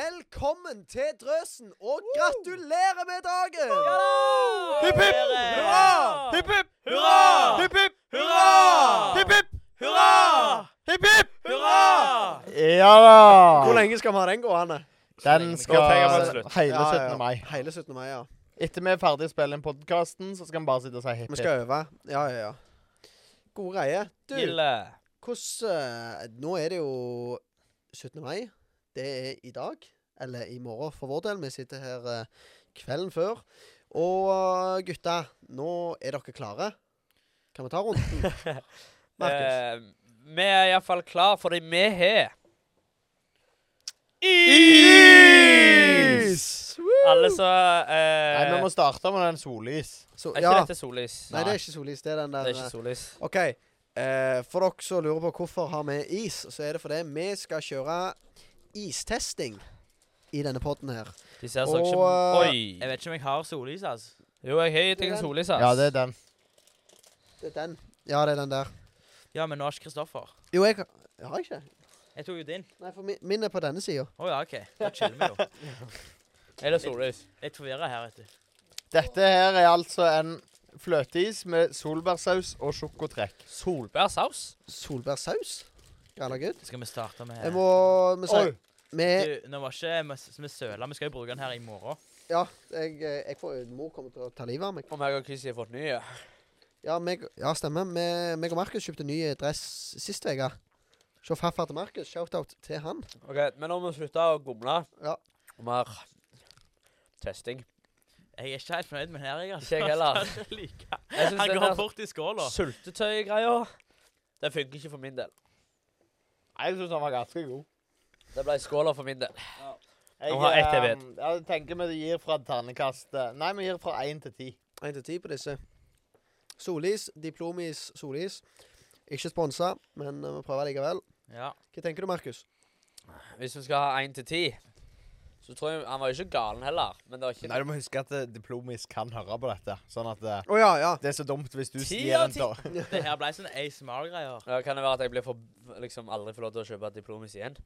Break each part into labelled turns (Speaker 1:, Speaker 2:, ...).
Speaker 1: velkommen til Drøsen, og gratulerer med dagen!
Speaker 2: Hipp, hipp!
Speaker 1: Hurra!
Speaker 2: Hipp, hipp!
Speaker 1: Hurra!
Speaker 2: Hipp, hipp!
Speaker 1: Hurra!
Speaker 2: Hipp, hipp!
Speaker 1: Hurra!
Speaker 2: Hipp, hipp!
Speaker 1: Hurra!
Speaker 3: Ja da!
Speaker 1: Hvor lenge skal vi ha den gående?
Speaker 3: Den skal
Speaker 2: Godt henger på en slutt.
Speaker 3: hele
Speaker 1: Ja, ja,
Speaker 3: 17.
Speaker 1: ja.
Speaker 3: mai.
Speaker 1: Hele 17. mai, ja.
Speaker 3: Etter vi er ferdig å spille inn podkasten, så skal vi bare sitte og si hipp
Speaker 1: Vi
Speaker 3: hipp.
Speaker 1: skal øve. Ja, ja, ja. Gode greier. Du, hvordan eh, Nå er det jo 17. mai. Det er i dag. Eller i morgen, for vår del. Vi sitter her eh, kvelden før. Og eh, gutta, nå er dere klare. Kan vi ta runden? Markus.
Speaker 2: Eh, vi er iallfall klar for det vi har. Alle så eh,
Speaker 3: Nei, vi må starte med den sollys.
Speaker 1: Så,
Speaker 2: Er ikke
Speaker 1: ja.
Speaker 2: dette sollys?
Speaker 1: Nei, det er ikke sollys. Det er den
Speaker 2: Det
Speaker 1: der
Speaker 2: er ikke sollys.
Speaker 1: OK. eh, for dere som lurer på hvorfor har vi is, så er det fordi vi skal kjøre istesting i denne poden her.
Speaker 2: De ser så ikke
Speaker 1: Og, eh,
Speaker 2: Oi.
Speaker 4: Jeg vet ikke om jeg har sollys, altså.
Speaker 2: Jo, jeg har gitt deg en sollys, ass.
Speaker 3: Ja, det er den.
Speaker 1: Det er den. Ja, det er den der.
Speaker 4: Ja, men nå har ikke Kristoffer.
Speaker 1: Jo, jeg jeg har ikke.
Speaker 4: Jeg tok jo din.
Speaker 1: Nei, for min, min er på denne sida.
Speaker 4: Å ja, OK. Da chiller vi jo.
Speaker 2: Er det sollys?
Speaker 4: Litt forvirra her, vet du.
Speaker 3: Dette her er altså en fløteis med solbærsaus og sjokotrekk.
Speaker 2: Solbærsaus?
Speaker 1: Solbærsaus. Granna good.
Speaker 4: Skal vi starte med
Speaker 1: Jeg må vi sier
Speaker 3: Oi!
Speaker 1: med,
Speaker 4: Du, nå var ikke vi s- vi søla. Vi skal jo bruke den her i morgen.
Speaker 1: Ja, jeg, eh, jeg får mor kommer til å ta livet av meg.
Speaker 2: Om jeg og Chrissy har fått nye?
Speaker 1: Ja, meg, ja stemmer. Vi, meg og Markus kjøpte ny dress sist uke. Se farfar til Markus. Shout-out til han.
Speaker 2: Ok, Men nå må vi slutte å gomle.
Speaker 1: Ja.
Speaker 2: Og mer testing.
Speaker 4: Jeg er ikke helt fornøyd med den her, jeg. altså.
Speaker 2: Ikke jeg heller.
Speaker 4: Han er like-
Speaker 2: Jeg synes
Speaker 4: Han
Speaker 2: den
Speaker 4: går
Speaker 2: der
Speaker 4: bort i skåla.
Speaker 2: Sultetøy-greia, det funker ikke for min del.
Speaker 3: Nei, Jeg syns den var ganske god.
Speaker 2: Det ble skåla for min del.
Speaker 3: Jeg,
Speaker 2: Den var ett jeg
Speaker 3: eh,
Speaker 2: vet.
Speaker 3: ja, jeg tenker vi gir fra ternekast eh, Nei, vi gir fra én til ti.
Speaker 1: Én til ti på disse. Solis, diplomis, solis. Ikke sponsa, men eh, vi prøver likevel.
Speaker 4: Ja.
Speaker 1: Hva tenker du, Markus?
Speaker 2: Hvis vi skal ha én til ti, så tror jeg Han var jo ikke galen heller, men det var ikke
Speaker 3: Nei, Du må huske at eh, Diplomis kan høre på dette. Sånn at eh,
Speaker 1: Å ja, ja.
Speaker 3: det er så dumt hvis du
Speaker 2: Ti
Speaker 3: gir
Speaker 2: av
Speaker 3: en
Speaker 2: ti.
Speaker 3: da.
Speaker 4: Det her ble sånn ASMR-greier.
Speaker 2: Ja, Kan det være at jeg blir for, liksom aldri får lov til å kjøpe diplomis igjen?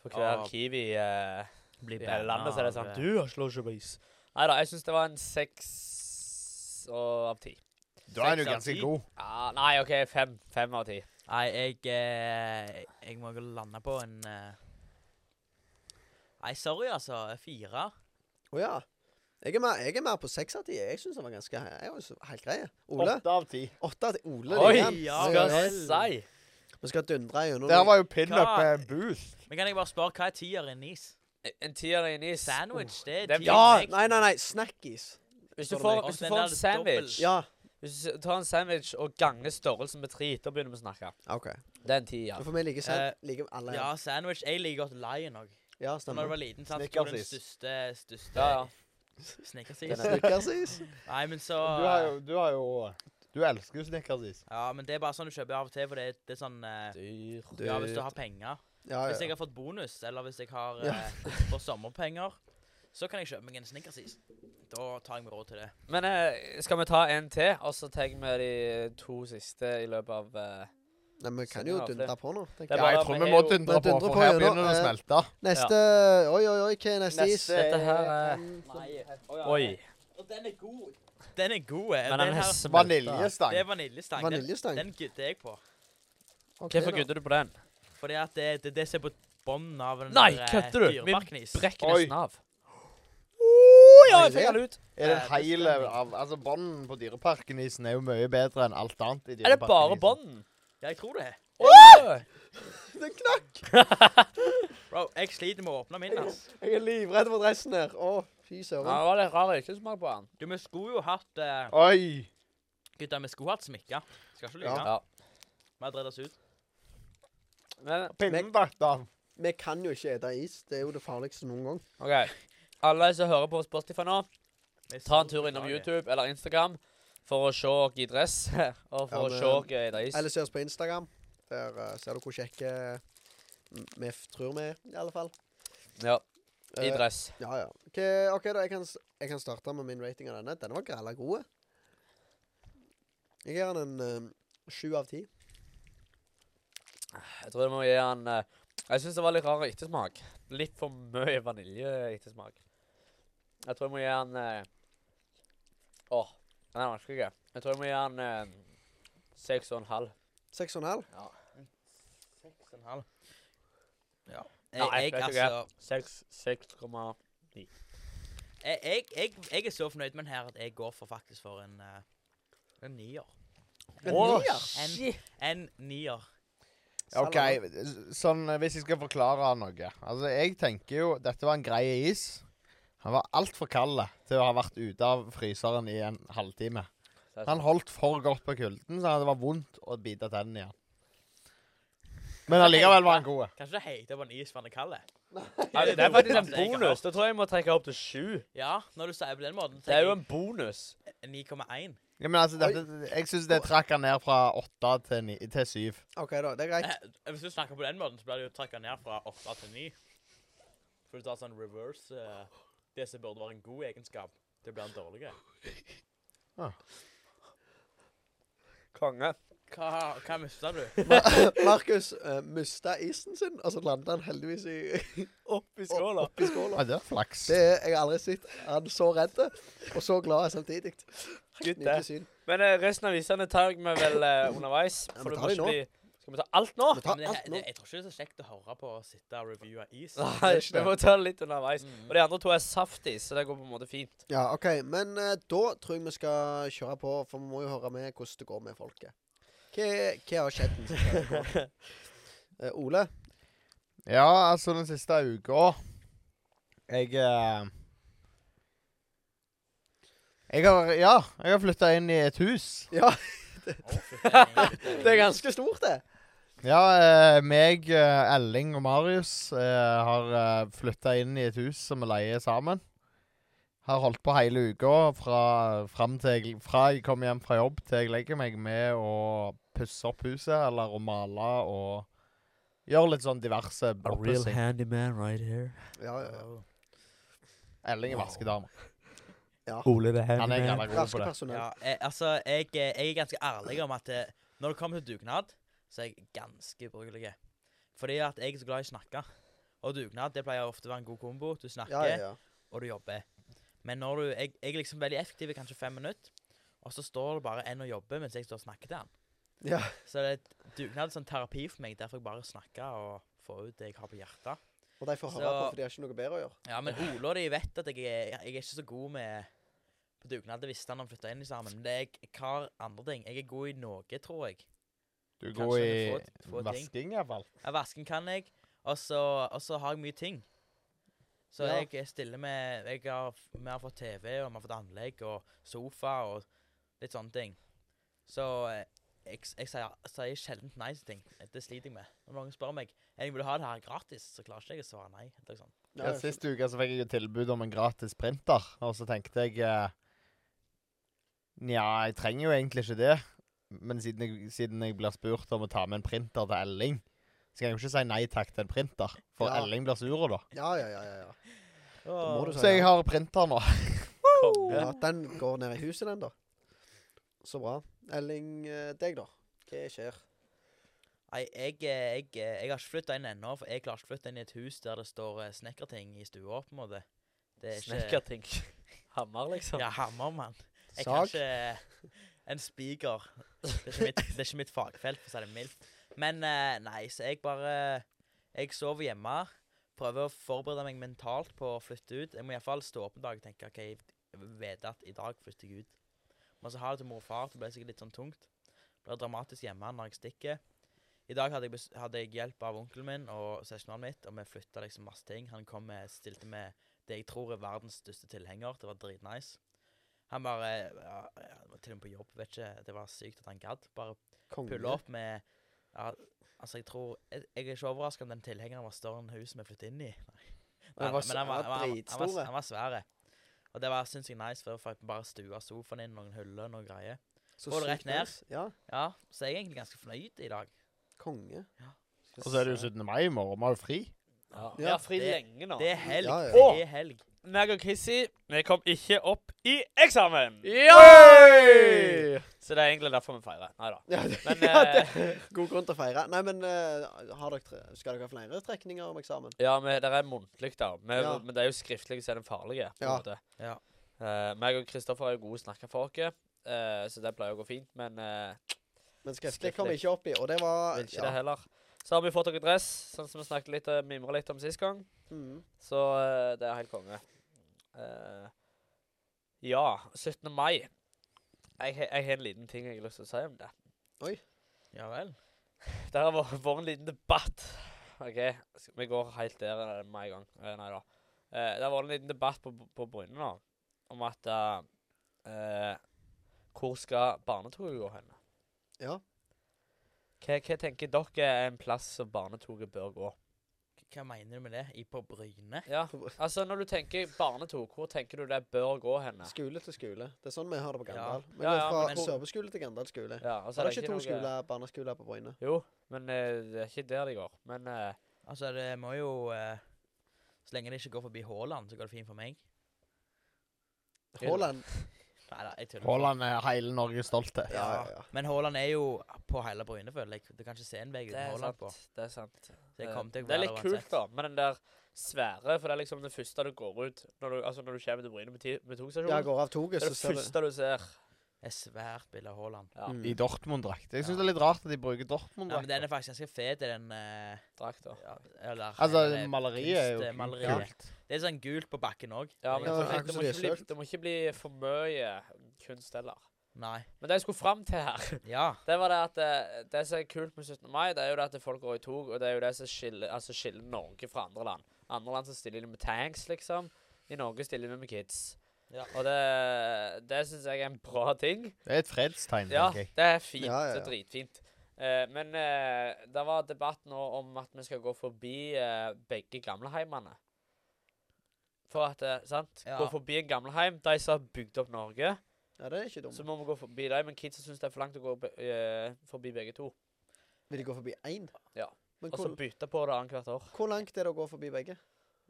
Speaker 2: For hver
Speaker 4: Åh.
Speaker 2: Kiwi eh, i
Speaker 4: Blir
Speaker 2: hele landet så er det sånn Du har ikke lov til å kjøpe is. Nei da, jeg syns det var en seks og- av ti.
Speaker 3: Da er du
Speaker 4: Seks av
Speaker 3: ganske
Speaker 4: ti.
Speaker 3: god.
Speaker 2: Ja, nei, OK, fem. Fem av ti.
Speaker 4: Nei, jeg eh, Jeg må lande på en eh, Nei, sorry, altså. Fire.
Speaker 1: Å ja. Jeg er, mer, jeg er mer på seks av ti. Jeg syns den var ganske jeg var så- helt grei. Ole?
Speaker 3: Åtte av ti.
Speaker 1: Åtte av ti. Ole
Speaker 2: Oi!
Speaker 1: liker den.
Speaker 4: ja,
Speaker 2: skal
Speaker 4: vel.
Speaker 2: jeg si.
Speaker 1: Vi skal dundre gjennom
Speaker 3: Det her var jo pinup
Speaker 4: Hva-
Speaker 3: med boost.
Speaker 4: Men kan jeg bare spørre, hva er tier i en is?
Speaker 2: En tier i en is.
Speaker 4: Sandwich, det er
Speaker 2: den-
Speaker 4: tier.
Speaker 1: Ja!
Speaker 4: jeg-
Speaker 1: Nei, nei, nei. Snackis.
Speaker 2: Hvis
Speaker 1: Spør
Speaker 2: du
Speaker 1: du
Speaker 2: får,
Speaker 4: meg.
Speaker 2: hvis du
Speaker 4: Og
Speaker 2: får
Speaker 4: den
Speaker 2: en
Speaker 4: er
Speaker 2: sandwich
Speaker 1: Ja.
Speaker 2: Hvis du s- tar en sandwich og ganger størrelsen med tre, da begynner vi å snakke.
Speaker 1: OK.
Speaker 2: Det er en tier.
Speaker 1: Men For meg liker
Speaker 4: Eh,
Speaker 1: sand. Liker alle.
Speaker 4: Ja, sandwich. Jeg liker godt Lion òg.
Speaker 1: ja
Speaker 4: Da jeg
Speaker 1: stemmer.
Speaker 4: var liten, sant, så tok jeg den største, største
Speaker 2: Ja, ja.
Speaker 4: snickersis.
Speaker 2: Den er-
Speaker 1: Snickersis.
Speaker 4: Nei, men så
Speaker 3: Du har jo Du, har jo, du elsker jo snickersis.
Speaker 4: Ja, men det er bare sånn du kjøper av og til, for det, er- det er sånn eh,
Speaker 2: Dyr.
Speaker 4: Ja, hvis du har penger.
Speaker 1: Ja,
Speaker 4: Hvis jeg
Speaker 1: ja.
Speaker 4: har fått bonus, eller hvis jeg har
Speaker 1: Ja.
Speaker 4: eh, fått sommerpenger, så kan jeg kjøpe meg en snickersis. Da tar jeg meg råd til det.
Speaker 2: Men eh, skal vi ta en til, og så tar vi de to siste i løpet av eh,
Speaker 1: Nei, men vi kan jo dundre på nå. tenker jeg.
Speaker 2: Det er
Speaker 3: Ja,
Speaker 2: bare-
Speaker 3: jeg tror vi må
Speaker 2: vi
Speaker 3: dundre på,
Speaker 1: dundrer på
Speaker 3: for her
Speaker 1: gjennom,
Speaker 3: begynner det å
Speaker 1: eh,
Speaker 3: smelte.
Speaker 1: Neste Oi, oi, oi. Hva er neste is? Mm.
Speaker 3: Neste
Speaker 2: Dette her er Oi.
Speaker 4: Og den er god. Den er god. eh.
Speaker 2: Men
Speaker 4: den
Speaker 2: den
Speaker 4: her,
Speaker 2: har smelta.
Speaker 4: det er
Speaker 3: Vaniljestang.
Speaker 4: vaniljestang. Den-
Speaker 1: Vaniljestang?
Speaker 4: Den gudder jeg på.
Speaker 1: Ok,
Speaker 2: Hvorfor
Speaker 1: da.
Speaker 2: gudder du på den?
Speaker 4: Fordi at det det er det som er på bånden av den
Speaker 2: Nei,
Speaker 4: der, eh,
Speaker 2: kødder du? Vi
Speaker 4: dyreparknis.
Speaker 2: Brekker
Speaker 3: Oi.
Speaker 2: nesten av. Oh,
Speaker 1: ja, jeg fikk den
Speaker 2: ut.
Speaker 3: Er det
Speaker 4: Eh,
Speaker 3: hele
Speaker 4: bestemning.
Speaker 3: av Altså, bånden på Dyreparken-isen er jo mye bedre enn alt annet i
Speaker 2: Er det bare
Speaker 3: Dyreparken-isen.
Speaker 1: sånn.
Speaker 2: bånden?
Speaker 4: Ja, jeg tror det.
Speaker 2: Åh!
Speaker 1: Det knakk!
Speaker 4: Bro, jeg sliter med å åpne min. ass.
Speaker 1: Jeg er livredd for dressen her. Å, fy
Speaker 2: Ja,
Speaker 1: søren.
Speaker 2: det var litt rar øyesmak på den.
Speaker 4: Du, vi skulle jo hatt eh,
Speaker 3: Oi!
Speaker 4: Gutta, vi skulle hatt smykker. Skal ikke lyve.
Speaker 1: Ja.
Speaker 2: Ja.
Speaker 4: Vi har dredd oss ut.
Speaker 2: Men
Speaker 3: Pinnen datt av.
Speaker 1: Vi kan jo ikke ete is. Det er jo det farligste noen gang.
Speaker 2: OK. Alle som hører på Spotify nå,
Speaker 4: Vi er
Speaker 2: ta en
Speaker 4: så
Speaker 2: tur innom
Speaker 4: beklager.
Speaker 2: YouTube eller Instagram for å se oss i dress og for
Speaker 1: Ja,
Speaker 2: å
Speaker 1: men-
Speaker 2: se oss i dress.
Speaker 1: Eller se oss på Instagram. Der eh, ser du hvor kjekke vi f- tror vi er, i alle fall.
Speaker 2: Ja, i
Speaker 1: Eh,
Speaker 2: dress.
Speaker 1: ja, ja. Ok, ok, da. Jeg kan, s- jeg kan starte med min rating av denne. Denne var grella god. Jeg gir den en eh, sju av ti.
Speaker 2: Jeg tror jeg må gi han eh, Jeg syns det var litt rar ettersmak. Litt for mye vaniljeettesmak. Jeg tror jeg må gi han eh, Åh, den er vanskelig. Jeg tror jeg må gi han eh, seks og en halv.
Speaker 1: Seks og en halv.
Speaker 4: Seks og en halv. Ja.
Speaker 2: Nei,
Speaker 4: Jeg, jeg,
Speaker 2: vet du hva?
Speaker 4: altså,
Speaker 2: Seks, seks komma
Speaker 4: jeg, jeg, jeg, jeg er så fornøyd med den her at jeg går for faktisk for en eh, En nier.
Speaker 1: En
Speaker 2: Åh,
Speaker 1: nier?
Speaker 2: shit.
Speaker 4: En nier.
Speaker 3: OK, sånn eh, hvis jeg skal forklare noe Altså, jeg tenker jo Dette var en grei is. Han var altfor kald til å ha vært ute av fryseren i en halvtime.
Speaker 2: Så jeg-
Speaker 3: Han holdt for godt på kulden, så det var vondt å bite tennene i han. Men allikevel var han god.
Speaker 4: Kanskje det heter på en is for den er kald?
Speaker 2: Nei, det er faktisk en bonus. Da tror jeg jeg må trekke opp til sju.
Speaker 4: Ja, når du sier det på den måten,
Speaker 2: Det er jo
Speaker 4: tenker
Speaker 2: en bonus.
Speaker 4: jeg 9,1.
Speaker 3: Ja, men altså, dette, jeg syns det trakk han ned fra åtte til, ni- til syv.
Speaker 1: OK, da. Det er greit.
Speaker 4: Eh, Hvis du snakker på den måten, så blir det jo trekket ned fra 8 til 9. For du tar sånn reverse eh, Det som burde være en god egenskap, det blir en dårlig.
Speaker 2: Konge.
Speaker 4: Hva, hva mista du?
Speaker 1: Markus uh, mista isen sin, og så landa han heldigvis i,
Speaker 2: Opp i
Speaker 1: opp-
Speaker 2: skåla.
Speaker 1: oppi skåla.
Speaker 3: Ja, det var flaks.
Speaker 1: Det er jeg har aldri sett. Han så redd og så glad samtidig.
Speaker 2: Gutt, det.
Speaker 1: Nydelig syn.
Speaker 2: Men eh, resten av visene tar vi vel eh, underveis.
Speaker 1: Ja,
Speaker 2: For
Speaker 1: vi
Speaker 2: det
Speaker 1: tar
Speaker 2: må
Speaker 1: de
Speaker 2: ikke
Speaker 1: nå.
Speaker 2: bli Skal vi ta alt nå?
Speaker 1: Vi tar
Speaker 4: Men det,
Speaker 1: alt nå.
Speaker 4: det, jeg tror ikke det er så kjekt å høre på å sitte og reviewe is.
Speaker 2: Nei,
Speaker 1: det er ikke
Speaker 2: vi
Speaker 1: det.
Speaker 2: må ta det litt underveis.
Speaker 4: Mm.
Speaker 2: Og de andre to er saftis, så det går på en måte fint.
Speaker 1: Ja, OK. Men eh, da tror jeg vi skal kjøre på, for vi må jo høre med hvordan det går med folket. Hva, hva har skjedd? den siste uka? Eh, Ole?
Speaker 3: Ja, altså den siste uka Jeg eh, Jeg har Ja, jeg har flytta inn i et hus.
Speaker 1: Ja,
Speaker 4: Å, fy faen.
Speaker 1: det er ganske stort, det.
Speaker 3: Ja, eh, meg, eh, Elling og Marius eh, har eh, flytta inn i et hus som vi leier sammen. Har holdt på hele uka fra, fram til jeg, fra jeg kommer hjem fra jobb til jeg legger meg, med å pusse opp huset eller å male og gjøre litt sånn diverse oppussing.
Speaker 2: handyman right here.
Speaker 1: Ja, ja, ja.
Speaker 3: Elling er vaskedame.
Speaker 2: Ole the
Speaker 3: Han er jævla god
Speaker 1: Raske
Speaker 3: på det.
Speaker 1: personell.
Speaker 4: ja, jeg, altså, jeg, eh, jeg er ganske ærlig om at eh, når det kommer til dugnad, så er jeg ganske ubrukelig. Fordi at jeg er så glad i å snakke. Og dugnad det pleier ofte å være en god kombo. Du snakker,
Speaker 1: Ja, ja, ja.
Speaker 4: og du jobber. Men når du, jeg, jeg er liksom veldig effektiv i kanskje fem minutter, og så står det bare en og jobber mens jeg står og snakker til han.
Speaker 1: Ja.
Speaker 4: Så det er et dugnad sånn terapi for meg, derfor jeg bare snakker og får ut det jeg har på hjertet.
Speaker 1: Og de får høre
Speaker 4: Så-
Speaker 1: på, for de har ikke noe bedre å gjøre.
Speaker 4: Ja, men Ole og de vet at jeg, er- jeg er ikke så god med på dugnad. Det visste han da vi flytta inn i sammen. Men det er, jeg har andre ting. Jeg er god i noe, tror jeg.
Speaker 3: Du er
Speaker 4: Kanskje
Speaker 3: god
Speaker 4: vi får-
Speaker 3: i
Speaker 4: får ting.
Speaker 3: vasking, iallfall.
Speaker 4: Ja, vasken kan jeg, og så, og så har jeg mye ting. Så
Speaker 1: Ja.
Speaker 4: jeg er stille med jeg har, Vi har fått TV, og vi har fått anlegg og sofa og litt sånne ting. Så eh, jeg, s- jeg sier, sier sjelden nei til ting. Det sliter jeg med. Når noen spør meg om jeg vil ha det her gratis, så klarer ikke jeg å svare nei. Eller sånn.
Speaker 1: Ja,
Speaker 3: Ja, Sist uke så fikk jeg et tilbud om en gratis printer, og så tenkte jeg eh, Nja, jeg trenger jo egentlig ikke det, men siden jeg, siden jeg blir spurt om å ta med en printer til Elling, så kan jeg jo ikke si nei takk til en printer, for
Speaker 1: Ja.
Speaker 3: Elling blir sur da.
Speaker 1: ja, ja. ja, ja, ja. må du
Speaker 4: Åh.
Speaker 1: si.
Speaker 3: Så jeg har printer nå.
Speaker 2: Konge.
Speaker 1: Ja, den går ned i huset, den, da. Så bra. Elling, eh, deg, da. Hva skjer?
Speaker 4: Nei, jeg, eh, jeg, eh, jeg har ikke flytta inn ennå, for jeg klarer ikke å flytte inn i et hus der det står eh, snekkerting i stua, på en måte. Det er ikke-
Speaker 2: Snekkerting. Hammer, liksom.
Speaker 4: Ja, hammer, mann. Jeg kan
Speaker 1: Sag?
Speaker 4: ikke En spiker. Det er ikke mitt, det er ikke mitt fagfelt, for å si det mildt. Men eh, nei, så jeg bare Jeg sover hjemme. Prøver å forberede meg mentalt på å flytte ut. Jeg må iallfall stå opp en dag og tenke OK, jeg vil vite at i dag flytter jeg ut. Men så har jeg det til mor og far, det ble sikkert litt sånn tungt. Det blir dramatisk hjemme når jeg stikker. I dag hadde jeg, bes hadde jeg hjelp av onkelen min og søskenbarnet mitt, og vi flytta liksom masse ting. Han kom med, stilte med det jeg tror er verdens største tilhenger. Det var dritnice. Han bare ja, ja, han var Til og med på jobb, vet ikke. Det var sykt at han gadd. Bare
Speaker 1: Mm,
Speaker 4: pulle opp med ja, Altså, jeg tror Jeg, jeg er ikke overraska om den tilhengeren var større enn huset vi flyttet inn i. Nei.
Speaker 1: Den var s-
Speaker 4: han
Speaker 1: den var
Speaker 4: han han var,
Speaker 1: dritstor.
Speaker 4: han var svære. Og det var sinnssykt nice, for jeg fikk bare stua sofaen inn, noen hyller, noen greier.
Speaker 1: Så
Speaker 4: Går det rett
Speaker 1: sykt
Speaker 4: ned?
Speaker 1: nice. Ja.
Speaker 4: Ja, så jeg er egentlig ganske fornøyd i dag.
Speaker 1: Konge.
Speaker 3: Og så er det jo 17. mai i morgen, vi har jo fri.
Speaker 2: Ja.
Speaker 1: Ja.
Speaker 2: Vi har fri
Speaker 4: Det-
Speaker 2: lenge nå.
Speaker 4: Det er helg.
Speaker 1: Ja, ja.
Speaker 4: Det er helg.
Speaker 2: Meg og Chrissy Vi kom ikke opp i eksamen!
Speaker 1: Oi!
Speaker 2: Så det er egentlig derfor vi feirer. Nei da.
Speaker 1: Ja, det,
Speaker 2: Men,
Speaker 1: ja, det,
Speaker 2: eh,
Speaker 1: god grunn til å feire. Nei, men eh, har dere, tre- skal dere ha flere trekninger om eksamen?
Speaker 2: Ja, men det er muntlig, da. Vi,
Speaker 1: Ja.
Speaker 2: Men det er jo skriftlig som er den farlige. på en
Speaker 1: Ja.
Speaker 2: måte.
Speaker 4: Ja.
Speaker 2: Eh, meg og Kristoffer er jo gode snakkefolk, eh, så det pleier å gå fint. Men eh,
Speaker 1: Men skriftlig kom jeg ikke opp i, og det var
Speaker 2: vil ikke det heller. Så har vi fått dere dress, sånn som vi snakket litt eh, mimret litt om sist gang.
Speaker 1: Mm.
Speaker 2: Så eh, det er helt konge. Eh, ja, 17. mai. Jeg, he- jeg har en liten ting jeg har lyst til å si om det.
Speaker 4: Ja vel.
Speaker 2: Det har vært vært en liten debatt. OK, skal- vi går helt der eh, med en gang. Eh, nei da. Eh, det har vært en liten debatt på, på Bryne nå, om at eh, eh, Hvor skal barnetoget gå hen?
Speaker 1: Ja.
Speaker 2: Hva, hva tenker dere er en plass som barnetoget bør gå?
Speaker 4: Hva mener du med det? I på Bryne?
Speaker 2: Ja, altså Når du tenker barnetog, hvor tenker du det bør gå henne?
Speaker 1: Skole til skole. Det er sånn vi har det på
Speaker 4: Ja.
Speaker 1: Gandal. Vi
Speaker 2: Ja,
Speaker 1: går
Speaker 2: ja,
Speaker 1: fra
Speaker 2: men-
Speaker 1: Sørpeskole til Gandal skole.
Speaker 2: Ja, altså,
Speaker 1: Så er det ikke to
Speaker 2: noe-
Speaker 1: skoler, barneskoler på Bryne.
Speaker 2: Jo, men eh, det er ikke der de går. Men eh,
Speaker 4: Altså, det må jo eh, Så lenge det ikke går forbi Haaland, så går det fint for meg.
Speaker 1: Haaland.
Speaker 4: Nei da, jeg tuller.
Speaker 3: Haaland er hele Norge stolt av.
Speaker 1: Ja, ja, ja.
Speaker 4: Men Haaland er jo på hele Bryne, føler jeg. Du kan ikke se en vei
Speaker 2: det
Speaker 4: uten
Speaker 2: er
Speaker 4: Haaland
Speaker 2: sant.
Speaker 4: på.
Speaker 2: Det er sant.
Speaker 4: Så jeg
Speaker 2: Eh,
Speaker 4: kommer til å
Speaker 2: det er
Speaker 4: være
Speaker 2: litt
Speaker 4: der
Speaker 2: kult,
Speaker 4: uansett.
Speaker 2: da, med den der svære, for det er liksom det første du går ut når du, altså, når du kommer til Bryne med, ti- med
Speaker 1: Ja,
Speaker 2: togstasjonen.
Speaker 1: går av toget,
Speaker 2: det er
Speaker 1: så
Speaker 2: det
Speaker 1: ser du
Speaker 2: første du ser.
Speaker 4: Et svært bilde av Haaland.
Speaker 2: Ja,
Speaker 1: Mm.
Speaker 3: I Dortmund-drakt. Jeg syns det er litt rart at de bruker
Speaker 2: Mm.
Speaker 4: Ja, men
Speaker 3: Dortmund-drakt.
Speaker 4: den er faktisk ganske fet, den eh,
Speaker 2: drakt, da.
Speaker 4: ja, eller,
Speaker 3: altså,
Speaker 4: eller
Speaker 3: maleriet er jo
Speaker 4: kunst- maleriet.
Speaker 3: kult.
Speaker 4: Det er sånn gult på bakken òg.
Speaker 2: Ja, men
Speaker 1: Ja,
Speaker 2: det,
Speaker 1: akkurat
Speaker 2: det,
Speaker 1: som
Speaker 2: må
Speaker 1: de
Speaker 2: ikke bli,
Speaker 1: har søkt.
Speaker 2: det må ikke bli for mye kunst heller.
Speaker 4: Nei.
Speaker 2: Men det jeg skulle fram til her
Speaker 4: Ja.
Speaker 2: Det var det at eh, det som er kult med 17. mai, det er jo det at folk går i tog, og det er jo det som skiller, altså skiller Norge fra andre land. Andre land så stiller de med tanks, liksom. I Norge stiller vi med kids.
Speaker 4: Ja.
Speaker 2: Og det, det syns jeg er en bra ting.
Speaker 3: Det er et fredstegn,
Speaker 2: Ja,
Speaker 3: tenker jeg.
Speaker 2: det er fint.
Speaker 1: Ja, ja, ja.
Speaker 2: Det er dritfint. Eh, men eh, det var debatt nå om at vi skal gå forbi eh, begge gamleheimene. For at, eh, sant?
Speaker 4: Ja.
Speaker 2: Gå forbi en gamleheim, de som har bygd opp Norge.
Speaker 1: Ja, det er ikke dumt.
Speaker 2: Så må vi gå forbi dem, men kidsa syns det er for langt å gå be eh, forbi begge to.
Speaker 1: Vil de gå forbi én?
Speaker 2: Ja. Altså-
Speaker 1: Men
Speaker 2: Og så
Speaker 1: hvor,
Speaker 2: bytte på det annethvert år.
Speaker 1: hvor langt er det å gå forbi begge?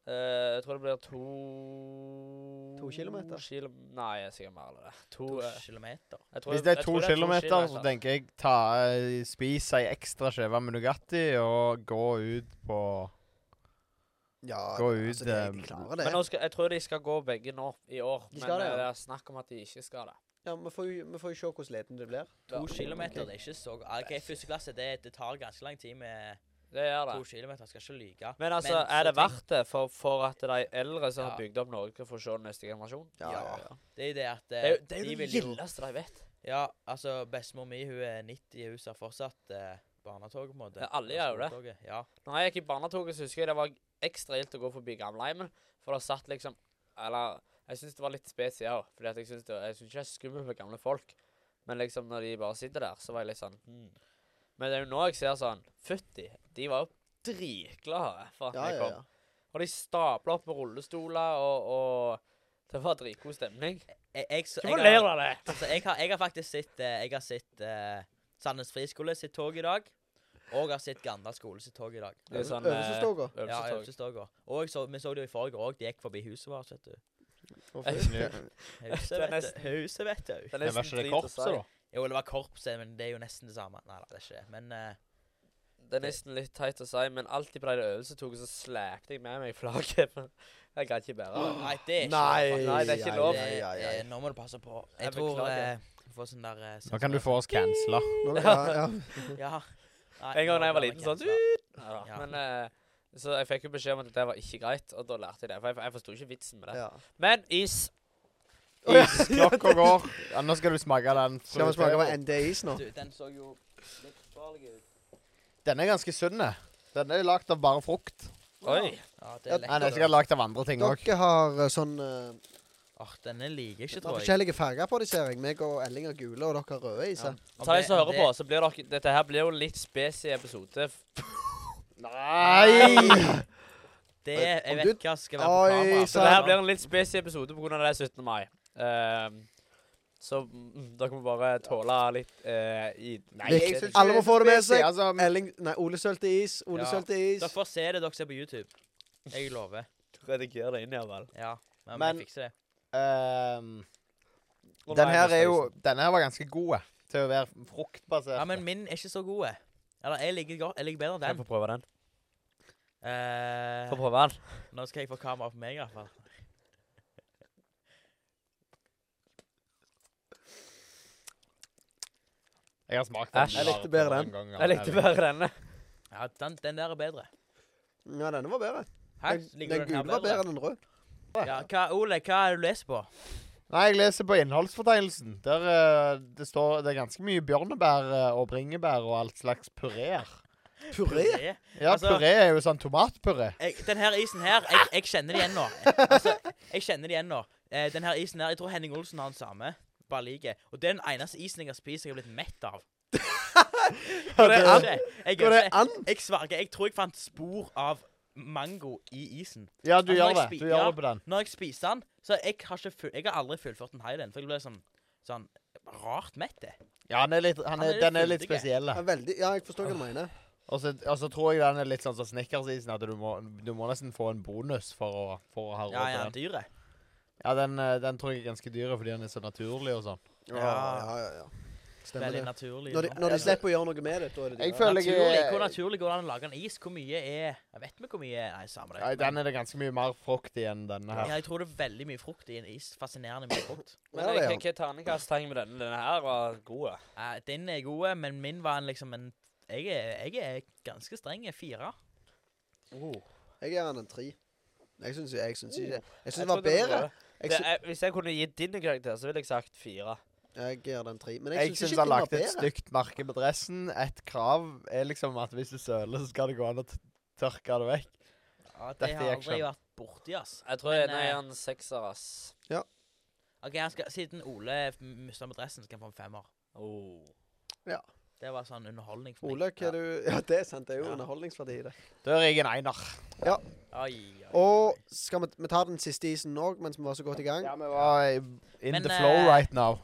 Speaker 2: Eh, jeg tror det blir to
Speaker 1: To kilometer?
Speaker 2: Kilo... Nei, jeg er sikkert mer eller det. To,
Speaker 4: To
Speaker 2: eh,
Speaker 4: kilometer.
Speaker 2: jeg tror-
Speaker 3: Hvis det er
Speaker 2: jeg
Speaker 3: to
Speaker 2: tror
Speaker 3: kilometer,
Speaker 2: altså.
Speaker 3: så tenker jeg ta, eh, spis ei ekstra skive med Nugatti og gå ut på
Speaker 1: Ja,
Speaker 3: Gå ut,
Speaker 1: altså, det,
Speaker 3: eh,
Speaker 1: de klarer det.
Speaker 2: Men nå skal, jeg tror de skal gå begge nå i år.
Speaker 1: De
Speaker 2: Men
Speaker 1: skal det, ja.
Speaker 2: eh, det er snakk om at de ikke skal det.
Speaker 1: Ja, vi får, jo- vi får jo se hvordan leden det blir.
Speaker 4: To
Speaker 2: Ja.
Speaker 4: kilometer, det er ikke så Ah, OK, første klasse, det, det tar ganske lang tid med
Speaker 2: Det gjør det.
Speaker 4: to kilometer. Jeg skal ikke lyve.
Speaker 2: Men altså,
Speaker 4: Men så
Speaker 2: er det
Speaker 4: tenk-
Speaker 2: verdt det for, for at de eldre som har
Speaker 4: Ja.
Speaker 2: bygd opp Norge, får se neste generasjon?
Speaker 1: Ja, ja, ja.
Speaker 4: Det er jo det at eh,
Speaker 2: Det er jo det, er
Speaker 4: de
Speaker 2: jo det
Speaker 4: vil jo-
Speaker 2: gildeste de vet.
Speaker 4: Ja, altså, bestemor mi hun er 90, hun ser fortsatt eh, barnetoget, på en måte.
Speaker 2: Ja, alle gjør jo det.
Speaker 4: Skoletoget, Ja.
Speaker 2: Når jeg gikk i barnetoget, så husker jeg det var ekstra gildt å gå forbi gamleheimen. For det satt liksom Eller jeg syns det var litt spesielt. Fordi at jeg syns det- jeg synes ikke det er skummelt med gamle folk. Men liksom når de bare sitter der, så var jeg litt sånn hmm. Men det er jo nå jeg ser sånn Fytti, de var jo dritglade for at
Speaker 1: Ja,
Speaker 2: jeg
Speaker 1: ja,
Speaker 2: kom.
Speaker 1: ja.
Speaker 2: Og de stapla opp med rullestoler, og, og det var dritgod stemning.
Speaker 4: Jeg, jeg, så-
Speaker 2: Hvorfor
Speaker 4: jeg
Speaker 2: ler du av
Speaker 4: har,
Speaker 2: det?
Speaker 4: altså, jeg, har, jeg har faktisk sett eh, Jeg har sett eh, Sandnes friskole sitt tog i dag. Og jeg har sett Gandal skole sitt tog i dag.
Speaker 2: Det er sånn
Speaker 1: Øvelsestoga.
Speaker 2: eh,
Speaker 4: Ja,
Speaker 2: øvelsestog.
Speaker 4: Øvelsestoget. Og jeg så, vi så det jo i forrige òg. De gikk forbi huset vårt, vet du.
Speaker 2: Det
Speaker 4: Huset,
Speaker 2: er
Speaker 4: vet du.
Speaker 2: nesten-
Speaker 4: Huset, vet du.
Speaker 2: Det er
Speaker 3: Det var
Speaker 2: nesten
Speaker 3: ikke det
Speaker 2: drit å
Speaker 3: korpset,
Speaker 2: si.
Speaker 3: da.
Speaker 4: Jo, det var korpset, men det er jo nesten det samme. Nei da, det er ikke det. Men eh,
Speaker 2: Det er nesten litt teit å si, men alltid på de øvelsestogene så slæpte jeg med meg flagget. men Jeg gadd ikke bære det.
Speaker 4: Nei, det er ikke
Speaker 1: Nei,
Speaker 4: lov. faktisk.
Speaker 2: Nei, det er ikke lov.
Speaker 4: Det,
Speaker 1: Ai, ai, ai.
Speaker 4: eh, nå må du passe på. Jeg,
Speaker 2: Jeg
Speaker 4: tror
Speaker 2: beklager.
Speaker 4: eh, vi får sånn der eh,
Speaker 3: Nå kan du få oss cancela.
Speaker 1: Nå, ja, ja.
Speaker 4: Ja. Nei,
Speaker 2: En gang
Speaker 4: nå
Speaker 2: da jeg var
Speaker 4: blir
Speaker 2: liten,
Speaker 4: det
Speaker 2: sånn
Speaker 4: cancela.
Speaker 2: Neida.
Speaker 4: Ja.
Speaker 2: Men, eh, så jeg fikk jo beskjed om at det var ikke greit, og da lærte jeg det. For jeg, jeg forsto ikke vitsen med det.
Speaker 1: ja.
Speaker 2: Men is
Speaker 3: Klokka går. Ja, nå skal du smake den.
Speaker 1: Skal vi smake på NDIs nå?
Speaker 4: Du, den så jo litt farlig ut.
Speaker 3: Den er ganske sunn. eh. Den er lagd av bare frukt.
Speaker 2: Oi.
Speaker 4: Ja, det
Speaker 1: Ja,
Speaker 3: Nei,
Speaker 1: nei,
Speaker 4: er
Speaker 3: den er
Speaker 4: lett.
Speaker 3: sikkert lagd av andre ting òg.
Speaker 1: Dere har eh, sånn eh,
Speaker 4: Åh, denne liker jeg ikke,
Speaker 1: Det er
Speaker 4: tror jeg.
Speaker 1: forskjellige farger på de, ser jeg. Meg og Elling har gule, og dere har røde i seg.
Speaker 4: Om
Speaker 2: Ta deg som
Speaker 4: det- om
Speaker 2: hører på, så blir dere Dette her blir jo litt spesiell episode.
Speaker 3: Nei!
Speaker 4: Det, det- jeg
Speaker 1: Om
Speaker 4: vet
Speaker 1: du-
Speaker 4: hva skal være på
Speaker 1: Oi,
Speaker 4: kamera.
Speaker 2: Så det her blir en litt spesiell episode på grunn av det er 17. mai. Ehm, så mm, dere må bare tåle litt eh, i Nei,
Speaker 1: Litt-
Speaker 2: jeg synes
Speaker 1: Alle må få det med seg.
Speaker 3: Altså,
Speaker 1: Elling, nei, Ole sølte is. Ole
Speaker 4: Ja.
Speaker 1: sølte is.
Speaker 4: Dere får se det dere ser på YouTube. Jeg lover.
Speaker 2: ikke rediger det inn, iallfall.
Speaker 4: Ja, men,
Speaker 3: Men-
Speaker 4: vi fikser det.
Speaker 3: Ehm,
Speaker 2: Og
Speaker 3: den her
Speaker 2: Lime
Speaker 3: er jo
Speaker 2: Space.
Speaker 3: Denne her var ganske god eh, til å være fruktbasert.
Speaker 4: Ja, men min er ikke så god. eh. Eller jeg liker, godt, jeg liker bedre
Speaker 2: Kan jeg
Speaker 4: den.
Speaker 2: få prøve den?
Speaker 4: Eh,
Speaker 2: Få prøve den?
Speaker 4: nå skal jeg få kamera på meg, i hvert fall.
Speaker 3: jeg har smakt den.
Speaker 2: Æsj.
Speaker 1: Jeg
Speaker 3: bare
Speaker 1: likte bedre
Speaker 3: en
Speaker 1: den.
Speaker 3: gang,
Speaker 2: Jeg likte
Speaker 3: eller-
Speaker 2: bare denne.
Speaker 4: Ja, den, den der er bedre.
Speaker 1: Ja, denne var bedre.
Speaker 4: Hæ?
Speaker 1: Den,
Speaker 4: Liker du
Speaker 1: den
Speaker 4: den her
Speaker 1: gule var bedre enn den røde.
Speaker 4: Ja, hva, Ole, hva er det du leser på?
Speaker 3: Nei, jeg leser på innholdsfortegnelsen. Der eh, det står Det er ganske mye bjørnebær eh, og bringebær og alt slags pureer.
Speaker 1: Puré.
Speaker 3: Ja,
Speaker 4: Altså-
Speaker 3: puré er jo sånn tomatpuré.
Speaker 4: Jeg, den her isen her, jeg, jeg kjenner det igjen nå. Altså, jeg kjenner det igjen nå. Eh, den her isen her, jeg tror Henning Olsen har den samme. Bare like. Og det er den eneste isen jeg har spist jeg har blitt mett av.
Speaker 3: Går
Speaker 4: Jeg
Speaker 3: det-
Speaker 4: gønner Jeg,
Speaker 1: Går det
Speaker 4: jeg,
Speaker 1: an?
Speaker 4: jeg sverger. Jeg tror jeg fant spor av mango i isen.
Speaker 3: Ja, du
Speaker 4: Altså,
Speaker 3: gjør
Speaker 4: jeg
Speaker 3: det.
Speaker 4: spi-
Speaker 3: Du
Speaker 4: ja.
Speaker 3: gjør det på den.
Speaker 4: Når jeg spiser den, så jeg har ikke full, jeg har aldri fullført en highland. For jeg ble sånn, sånn rart mett. det.
Speaker 3: Ja, han er litt, han
Speaker 4: Han
Speaker 3: er,
Speaker 4: er
Speaker 3: den er litt
Speaker 4: fyldig, jeg.
Speaker 3: spesiell.
Speaker 1: Ja, veldig. Ja, jeg forstår hva du mener.
Speaker 3: Og så og så tror jeg den er litt sånn som snickersisen, at du må, du må nesten få en bonus for å, for å ha råd
Speaker 4: Ja, ja,
Speaker 3: til den.
Speaker 4: dyret.
Speaker 3: Ja, den, eh, den tror jeg er ganske dyr fordi den er så naturlig og sånn.
Speaker 1: Ja, ja, ja. ja. Stemmer
Speaker 4: Veldig
Speaker 1: det.
Speaker 4: naturlig.
Speaker 1: Når de, når de slipper å gjøre noe med det, da er det
Speaker 3: Jeg
Speaker 1: dyrere.
Speaker 3: føler jeg
Speaker 4: naturlig, hvor
Speaker 3: er-
Speaker 4: naturlig går det an å lage en is? Hvor mye er Jeg vet vi hvor mye er Nei, samme det.
Speaker 3: Ja, den er det ganske mye mer frukt i enn denne
Speaker 4: Ja,
Speaker 3: her.
Speaker 4: jeg tror det er veldig mye frukt i en is. Fascinerende mye frukt.
Speaker 2: Men
Speaker 1: Ja, det er
Speaker 2: jeg-
Speaker 1: han.
Speaker 2: hva terningkast trenger vi denne? Denne her var god.
Speaker 4: Eh, din er god, men min var en liksom en jeg er, jeg er ganske streng. jeg er Fire.
Speaker 2: Oh.
Speaker 1: Jeg gir den en tre. Jeg syns jeg syns ikke Jeg syns
Speaker 2: Jeg
Speaker 1: den var
Speaker 2: trodde det
Speaker 1: bedre. Jeg,
Speaker 2: Det
Speaker 1: sy
Speaker 2: er- hvis jeg kunne gitt din en karakter, så ville jeg sagt fire.
Speaker 1: jeg gir den tre. Men
Speaker 3: Jeg
Speaker 1: jeg syns
Speaker 3: syns han
Speaker 1: ikke den var
Speaker 3: lagde et
Speaker 1: bedre.
Speaker 3: stygt merke på dressen. Et krav er liksom at hvis du søler, så skal det gå an å t- tørke det vekk.
Speaker 4: Ja, det
Speaker 3: Dette gikk
Speaker 4: har aldri
Speaker 3: sånn.
Speaker 4: vært borti, ass.
Speaker 2: Jeg tror
Speaker 4: Men,
Speaker 2: jeg er
Speaker 4: eh,
Speaker 2: en sekser, ass.
Speaker 4: Ok, jeg skal, Siden Ole mista med dressen, skal han få en femmer.
Speaker 2: Oh.
Speaker 4: Det var sånn underholdning for meg.
Speaker 1: Ole, hva
Speaker 4: Ja.
Speaker 1: er du Ja, det er sant. Det er jo
Speaker 4: Ja.
Speaker 1: underholdningsverdi i det.
Speaker 3: Da er jeg en einer.
Speaker 4: Oi, oi, oi.
Speaker 1: Og skal vi, vi ta den siste isen òg, mens vi var så godt i gang?
Speaker 3: Ja, vi var i- in
Speaker 4: Men,
Speaker 3: the flow
Speaker 4: eh,
Speaker 3: right now.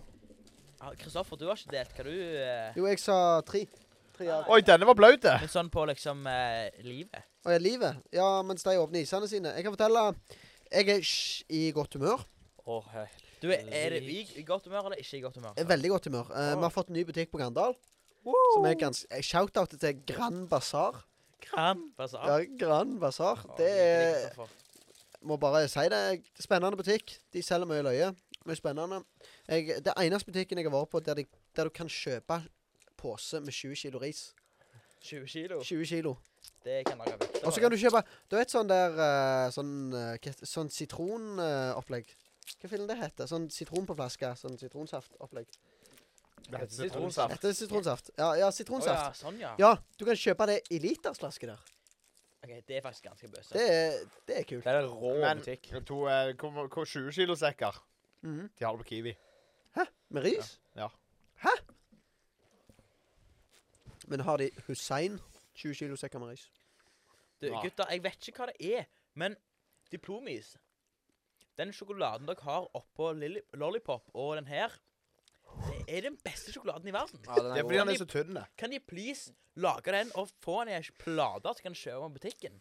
Speaker 4: Ja, Kristoffer, du har ikke delt hva du eh,
Speaker 1: Jo, jeg sa tre. Tre av
Speaker 3: Oi, denne var blaut, det.
Speaker 4: Men sånn på liksom eh, livet.
Speaker 1: Og er livet. Ja, mens de åpner isene sine. Jeg kan fortelle Jeg er sj- i godt humør.
Speaker 2: Åh, hei.
Speaker 4: Du, Er er det i, i godt humør eller ikke i godt humør?
Speaker 1: Jeg er veldig godt humør. Eh, vi har fått en ny butikk på Grandal. Som er ganske eh, Shout-out til Grand Bazaar.
Speaker 4: Kram. Bare så,
Speaker 1: Ja, Grand Bazaar. Det er Må bare si det. Spennende butikk. De selger mye løye. Mye spennende. Jeg, det er eneste butikken jeg har vært på der, de, der du kan kjøpe pose med 20 kilo ris.
Speaker 4: 20 kilo.
Speaker 1: 20 kilo.
Speaker 4: Det kan dere vite.
Speaker 1: Og så kan du kjøpe Du vet sånn der eh, Sånn, eh, hva het- sånn sitronopplegg. Hva fillen det heter? Sånn sitron på flaske. Sånn sitronsaftopplegg.
Speaker 2: heter
Speaker 3: Sitronsaft.
Speaker 1: Dette er sitronsaft. Ja, ja
Speaker 4: ja,
Speaker 1: sitronsaft.
Speaker 4: sånn, ja.
Speaker 1: Ja, du kan kjøpe det i litersflaske der.
Speaker 4: Ok, Det er faktisk ganske bøse.
Speaker 1: Det er, det er kult.
Speaker 2: Det er en rå
Speaker 3: Men-
Speaker 2: butikk.
Speaker 3: To, eh, hvor- hvor 20 kilo sekker.
Speaker 1: Mhm.
Speaker 3: De har det på Kiwi.
Speaker 1: Med ris.
Speaker 3: Ja.
Speaker 1: Hæ? Men har de Hussein 20 kilo sekker med ris?
Speaker 4: Du,
Speaker 3: Nei.
Speaker 4: gutter, jeg vet ikke hva det er, men diplomis Den sjokoladen dere har oppå Lilli- Lollipop og den her, det er den beste sjokoladen i verden.
Speaker 2: Ja, den
Speaker 3: Det er fordi
Speaker 2: god.
Speaker 3: han er så tynn. det.
Speaker 4: Kan de please lage den og få den i ei plate så kan du kjøpe den på butikken?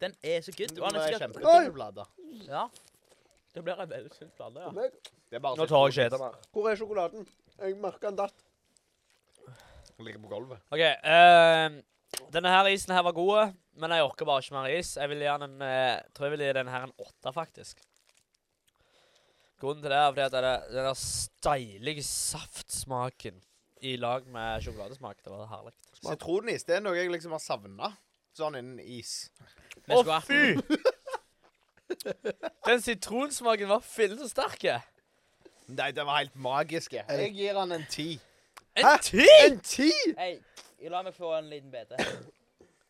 Speaker 4: Den er så good. Og
Speaker 3: Den
Speaker 4: den
Speaker 3: er
Speaker 4: er sikkert
Speaker 3: kjempetynn blader.
Speaker 4: Ja. Det blir ei veldig sunn plate, ja.
Speaker 3: Det er bare
Speaker 2: Nå tar jeg ikke
Speaker 3: sitronen.
Speaker 2: etter mer.
Speaker 1: Hvor er sjokoladen? Jeg merker den datt.
Speaker 3: Den ligger på gulvet.
Speaker 2: OK. ehm, denne her isen her var god, men jeg orker bare ikke mer is. Jeg vil gi den en eh, Tror jeg vil gi den her en åtte, faktisk. Grunnen til det er fordi at det er den der steilige saftsmaken i lag med sjokoladesmak. Det var herlig.
Speaker 3: Sitronis det er noe jeg liksom har savna. Sånn innen is.
Speaker 4: Vi skulle hatt den.
Speaker 2: Den sitronsmaken var fillen så sterk.
Speaker 3: Nei, den var helt magisk. jeg. Jeg gir han en ti.
Speaker 2: En
Speaker 1: Hæ?
Speaker 2: ti!
Speaker 1: En ti!
Speaker 4: Hei, la meg få en liten bete.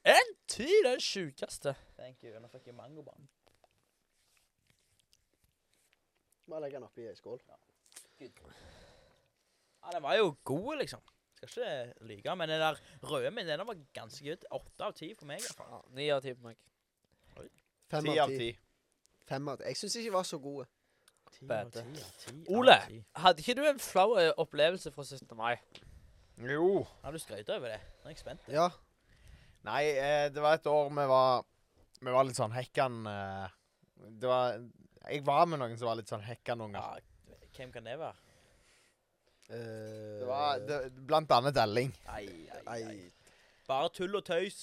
Speaker 2: En ti! Det er det sjukeste.
Speaker 4: Thank you. Nå fikk jeg mangobanen.
Speaker 1: Bare legge den oppi ei skål.
Speaker 4: Ja, den var jo god, liksom. Skal ikke lyge, men den der røde min, den var ganske good. Åtte av ti for meg. i hvert fall.
Speaker 2: Ja, Ni av ti på meg.
Speaker 1: Fem
Speaker 3: Ti av ti.
Speaker 1: Fem av ti. Jeg syns ikke de var så gode.
Speaker 4: Ti
Speaker 2: av
Speaker 4: av ti,
Speaker 2: Ole! Hadde ikke du en flau eh, opplevelse fra 17. mai?
Speaker 3: Jo.
Speaker 4: Ja, du skrøt over det. Nå er jeg spent.
Speaker 1: Ja.
Speaker 3: Nei, eh, det var et år vi var Vi var litt sånn hekkan eh, Det var Jeg var med noen som var litt sånn hekkanunger.
Speaker 4: Ja, hvem kan det være?
Speaker 1: Eh,
Speaker 3: Det var det, blant annet Elling.
Speaker 4: Ai, ai, ai.
Speaker 1: Ei,
Speaker 4: Bare tull og tøys.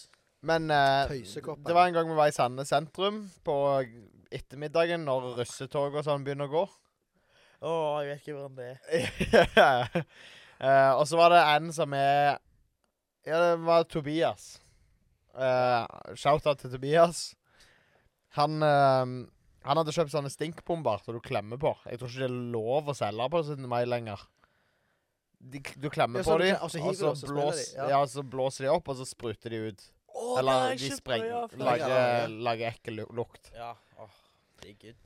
Speaker 3: Men eh,
Speaker 1: Tøysekopper.
Speaker 3: det var en gang vi var i Sande sentrum på ettermiddagen når russetog og sånn begynner å gå.
Speaker 4: Å, jeg vet ikke hvordan det er.
Speaker 3: Eh, og så var det en som er Ja, det var Tobias. Uh, Shout-out til Tobias. Han eh, Han hadde kjøpt sånne stinkbomber som du klemmer på. Jeg tror ikke det er lov å selge på 17. mai lenger. De, du klemmer
Speaker 1: Ja, så
Speaker 3: på
Speaker 1: du
Speaker 3: dem,
Speaker 1: kan- og så
Speaker 3: og
Speaker 1: hiver du,
Speaker 3: så,
Speaker 1: og så smeller
Speaker 3: blås,
Speaker 1: de, ja.
Speaker 3: ja, så blåser de opp, og så spruter de ut.
Speaker 2: Oh,
Speaker 3: Eller de sprenger
Speaker 1: Lager-
Speaker 3: Lager, lager ekkel lu- lukt.
Speaker 4: Ja, åh, det er good.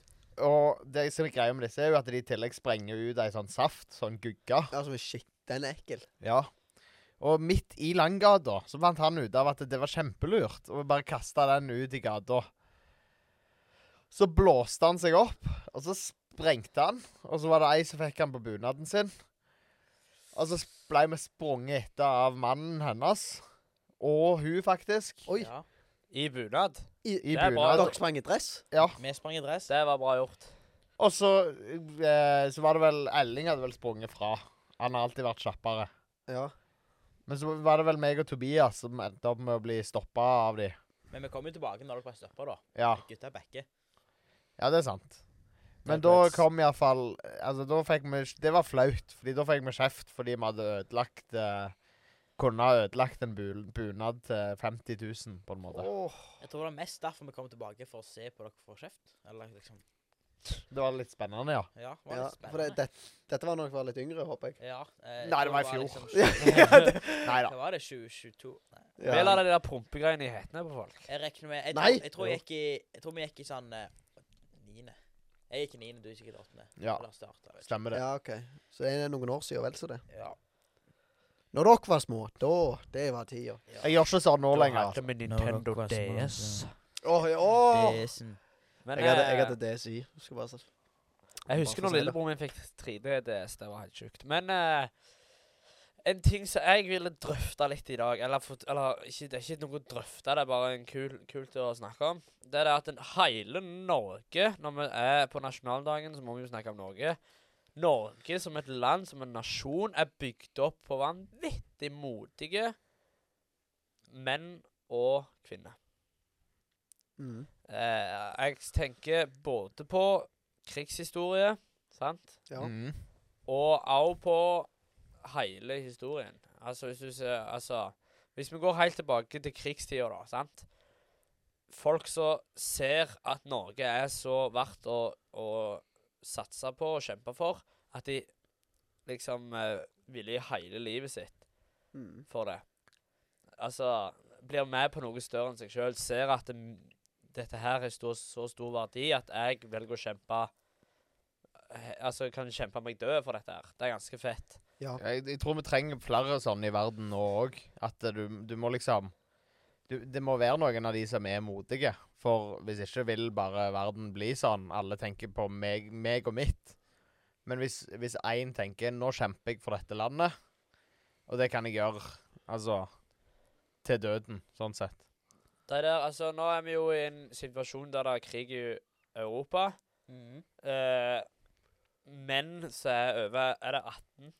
Speaker 3: Og det som er greia med disse, er jo at de i tillegg sprenger ut ei sånn saft, sånn gugge.
Speaker 1: altså, men shit, den er ekkel.
Speaker 3: Ja. Og midt i Langgata så fant han ut av at det var kjempelurt å bare kaste den ut i gata. Så blåste han seg opp, og så sprengte han. Og så var det ei som fikk han på bunaden sin. Og så ble vi sprunget etter av mannen hennes. Og hun, faktisk.
Speaker 1: Oi.
Speaker 4: Ja.
Speaker 2: I bunad.
Speaker 3: I
Speaker 2: det er bra.
Speaker 3: bunad.
Speaker 1: Dere sprang i dress?
Speaker 3: Ja.
Speaker 4: Vi sprang i dress.
Speaker 2: Det var bra gjort.
Speaker 3: Og så, eh, så var det vel Elling hadde vel sprunget fra. Han har alltid vært kjappere.
Speaker 1: Ja.
Speaker 3: Men så var det vel meg og Tobias som endte opp med å bli stoppa av de.
Speaker 4: Men vi kom jo tilbake når dere ble stoppa, da.
Speaker 3: Ja.
Speaker 4: Gutta backer.
Speaker 3: Ja, det er sant. Men
Speaker 2: Det er
Speaker 3: da
Speaker 2: Blitz.
Speaker 3: kom iallfall Altså, da fikk vi Det var flaut, fordi da fikk vi kjeft fordi vi hadde ødelagt eh, Kunne ha ødelagt en bu- bunad til 50 000, på en måte.
Speaker 1: Åh,
Speaker 4: Jeg tror det var mest derfor vi kom tilbake, for å se på dere få kjeft. Eller liksom
Speaker 3: Det var litt spennende, ja.
Speaker 4: Ja, det var
Speaker 1: ja,
Speaker 4: litt
Speaker 1: for det,
Speaker 4: spennende.
Speaker 1: det, dette var da dere var litt yngre, håper jeg.
Speaker 4: Ja, eh, jeg
Speaker 3: Nei,
Speaker 4: tror
Speaker 3: det var i fjor.
Speaker 4: Liksom, sju-
Speaker 3: Nei da.
Speaker 4: Hva var det? 2022? Nei.
Speaker 2: Vi lar de der prompegreiene i hetene på folk.
Speaker 4: Jeg regner med Jeg,
Speaker 1: Nei!
Speaker 4: tror- jeg, tror, jeg, gikk i, jeg tror vi gikk i sånn eh, niende. Jeg gikk i niende, du er sikkert åttende.
Speaker 3: Ja,
Speaker 4: Eller starta, vet ikke.
Speaker 3: stemmer det.
Speaker 1: Ja, OK. Så det er noen år siden, vel så det.
Speaker 4: Ja.
Speaker 1: Når dere var små, da Det var tida.
Speaker 4: ja.
Speaker 3: Jeg gjør ikke sånn nå
Speaker 2: Da
Speaker 3: lenger.
Speaker 2: hadde vi
Speaker 4: Nå,
Speaker 2: Nintendo
Speaker 4: dere var små,
Speaker 2: DS.
Speaker 1: Åh, ja, åh.
Speaker 4: Desen.
Speaker 2: Men
Speaker 1: Jeg hadde, jeg
Speaker 2: eh,
Speaker 1: hadde DSI. Skal bare si.
Speaker 2: Jeg husker
Speaker 1: Bare for å
Speaker 2: når
Speaker 1: si det.
Speaker 2: lillebroren min fikk 3D-DS. Det var helt sjukt. Men eh, en ting som jeg ville drøfte litt i dag Eller, fort- eller ikke, det er ikke noe å drøfte, det er bare en kul, kult å snakke om. Det er det at en hele Norge Når vi er på nasjonaldagen, så må vi jo snakke om Norge. Norge som et land, som en nasjon, er bygd opp på vanvittig modige menn og kvinner.
Speaker 1: Mm.
Speaker 2: Eh, jeg tenker både på krigshistorie, sant?
Speaker 1: Ja.
Speaker 3: Mm.
Speaker 2: Og også på hele historien. Altså, hvis du ser Altså, hvis vi går helt tilbake til krigstida, da, sant? Folk som ser at Norge er så verdt å, å satse på og kjempe for, at de liksom eh, ville gi hele livet sitt
Speaker 1: Mm.
Speaker 2: for det. Altså, blir med på noe større enn seg sjøl. Ser at det, dette her har stor, så stor verdi at jeg velger å kjempe he- Altså, kan kjempe meg død for dette her. Det er ganske fett.
Speaker 1: ja.
Speaker 3: Jeg, jeg tror vi trenger flere sånne i verden nå òg. At eh, du, du må liksom du, Det må være noen av de som er modige. For hvis ikke vil bare verden bli sånn. Alle tenker på meg, meg og mitt. Men hvis hvis én tenker 'nå kjemper jeg for dette landet', og det kan jeg gjøre, altså Til døden, sånn sett.
Speaker 2: Det der, altså, nå er vi jo i en situasjon der det er krig i Europa.
Speaker 4: Mhm.
Speaker 2: Eh, menn som er over Er det 18?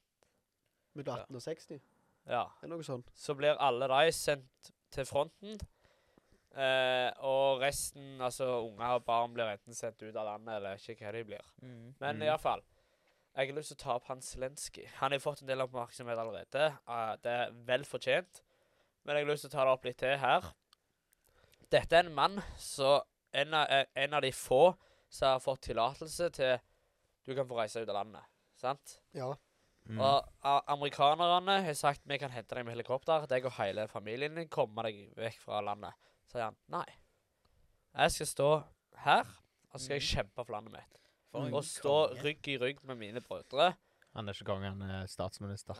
Speaker 1: Mellom 18 og 60?
Speaker 2: Ja.
Speaker 1: Er det noe sånt?
Speaker 2: Så blir alle de sendt til fronten. Eh, og resten, altså unger og barn, blir enten sendt ut av landet eller ikke hva de blir.
Speaker 4: Mhm.
Speaker 2: Men
Speaker 3: Mhm.
Speaker 2: i alle fall, jeg har lyst til å ta opp han Zelenskyj. Han har fått en del oppmerksomhet allerede. eh, det er vel fortjent. Men jeg har lyst til å ta det opp litt til her. Dette er en mann som en, av- eh, en av de få som har fått tillatelse til Du kan få reise ut av landet. Sant?
Speaker 1: Ja.
Speaker 3: Mm.
Speaker 2: Og a- amerikanerne har sagt vi kan hente deg med helikopter. Deg og hele familien din kommer deg vekk fra landet. Så sier han nei. Jeg skal stå her, og så skal jeg kjempe for landet mitt
Speaker 4: For en
Speaker 2: og stå
Speaker 4: konge.
Speaker 2: rygg i rygg med mine brødre.
Speaker 3: Han er ikke konge, han er statsminister.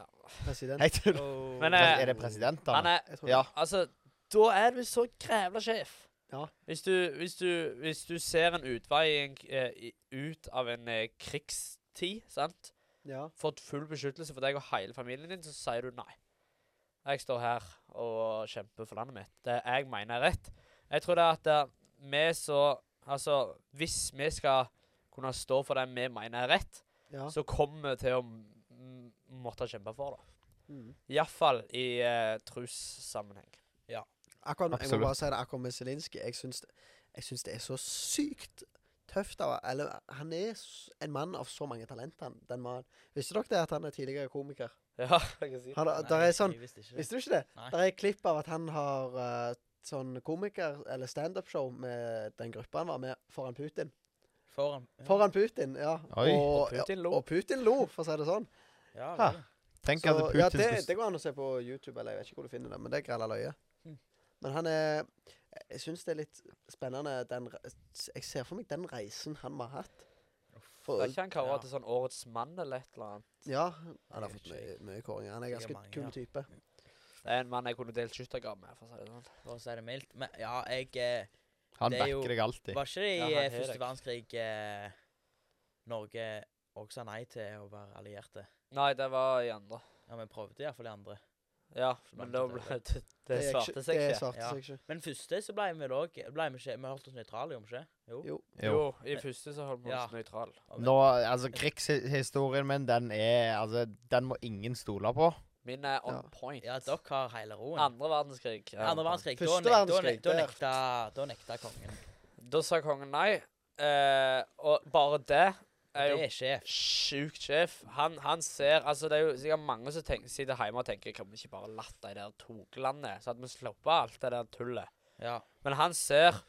Speaker 1: President?
Speaker 3: Nei, tull.
Speaker 4: Åh.
Speaker 2: Men, eh,
Speaker 3: Er det president, da?
Speaker 2: Han er
Speaker 1: Jeg tror det.
Speaker 3: Ja.
Speaker 2: Altså, da er du så grævla sjef.
Speaker 1: Ja.
Speaker 2: Hvis du, hvis, du, hvis du ser en utvei i en, k- eh, i, ut av en eh, krigstid, sant
Speaker 1: ja.
Speaker 2: Fått full beskyttelse for deg og hele familien din, så sier du nei. Jeg står her og kjemper for landet mitt. Det jeg mener er rett. Jeg tror det er at eh, vi så Altså, hvis vi skal kunne stå for det vi mener er rett,
Speaker 1: Ja.
Speaker 2: så kommer vi til å m- måtte kjempe for det.
Speaker 1: Mm.
Speaker 2: Iallfall i eh, trossammenheng.
Speaker 1: Akkurat, jeg må
Speaker 3: Absolutt.
Speaker 1: bare si det akkurat med Zelinskyj. Jeg syns det, jeg syns det er så sykt tøft. av- Eller, han er s- en mann av så mange talenter. han- Den mannen. Visste dere det at han er tidligere komiker?
Speaker 2: Ja, jeg kan si det.
Speaker 1: Han,
Speaker 4: Nei,
Speaker 1: der er sånn,
Speaker 4: jeg visste ikke det.
Speaker 1: Visste du ikke det?
Speaker 4: Nei.
Speaker 1: Der er klipp av at han har eh, sånn komiker- eller standup-show med den gruppa han var med, foran Putin.
Speaker 4: Foran. ja.
Speaker 1: Foran Putin, ja.
Speaker 3: Oi.
Speaker 1: Og,
Speaker 2: Og Putin
Speaker 1: ja,
Speaker 2: lo.
Speaker 1: og Putin lo, for å si det sånn.
Speaker 4: Ja,
Speaker 3: Ha.
Speaker 4: vel.
Speaker 3: Tenk
Speaker 1: Så,
Speaker 3: at Putin
Speaker 1: ja,
Speaker 3: skulle
Speaker 1: det,
Speaker 3: s-
Speaker 1: det går an å se på YouTube, eller jeg vet ikke hvor du finner det, men det er grella løye.
Speaker 2: Hm.
Speaker 4: Mm.
Speaker 1: Men han er Jeg syns det er litt spennende den, re- Jeg ser for meg den reisen han må ha hatt. For,
Speaker 2: Var ikke han kåra
Speaker 4: Ja.
Speaker 2: til sånn Årets mann eller et eller annet?
Speaker 1: ja, han har
Speaker 4: Jeg
Speaker 1: fått
Speaker 4: vet
Speaker 1: mye, mye kåringer. Han er
Speaker 4: Sikkert
Speaker 1: ganske
Speaker 4: mange,
Speaker 1: kul
Speaker 4: ja.
Speaker 1: type.
Speaker 2: Det er en mann jeg kunne delt skyttergrav med, for å si det sånn.
Speaker 4: For å si det mildt. Men ja, jeg eh,
Speaker 3: Han
Speaker 4: det er jo-
Speaker 3: backer deg alltid.
Speaker 4: Var ikke det i
Speaker 2: Ja, han
Speaker 4: eh,
Speaker 2: er
Speaker 4: første
Speaker 2: det.
Speaker 4: verdenskrig eh, Norge også sa nei til å være allierte?
Speaker 2: Nei, det var i andre.
Speaker 4: Ja, vi prøvde iallfall i andre.
Speaker 2: Ja,
Speaker 4: Så
Speaker 2: men
Speaker 4: langt
Speaker 2: da
Speaker 4: at det
Speaker 2: ble det Det
Speaker 1: er ikke-
Speaker 2: svarte seg
Speaker 1: Det
Speaker 2: ikke.
Speaker 1: svarte
Speaker 4: Ja.
Speaker 1: seg ikke.
Speaker 4: Men første så ble vi vel òg ble vi, ikke, vi holdt oss nøytrale, gjorde vi ikke? Jo.
Speaker 1: Jo.
Speaker 3: Jo.
Speaker 2: Jo, i første så holdt vi
Speaker 4: Ja.
Speaker 2: oss nøytral.
Speaker 4: Og-
Speaker 3: Nå, altså, krigshistorien min, den er Altså, den må ingen stole på.
Speaker 2: Min er on
Speaker 1: Ja.
Speaker 2: point.
Speaker 4: Ja, dere har hele roen.
Speaker 2: Andre verdenskrig. er
Speaker 4: Andre
Speaker 2: on point.
Speaker 4: verdenskrig. da
Speaker 1: Første
Speaker 4: nek- da
Speaker 1: verdenskrig,
Speaker 4: nek- Da
Speaker 1: der.
Speaker 4: nekta, da nekta kongen.
Speaker 2: Da sa kongen nei, eh, og bare det er jo
Speaker 4: Det er sjef.
Speaker 2: sjukt sjef. Han, han ser Altså, det er jo sikkert mange som tenker, sitter hjemme og tenker Kan vi ikke bare latt de der toglandene, så at vi slipper alt det der tullet?
Speaker 4: Ja.
Speaker 2: Men han ser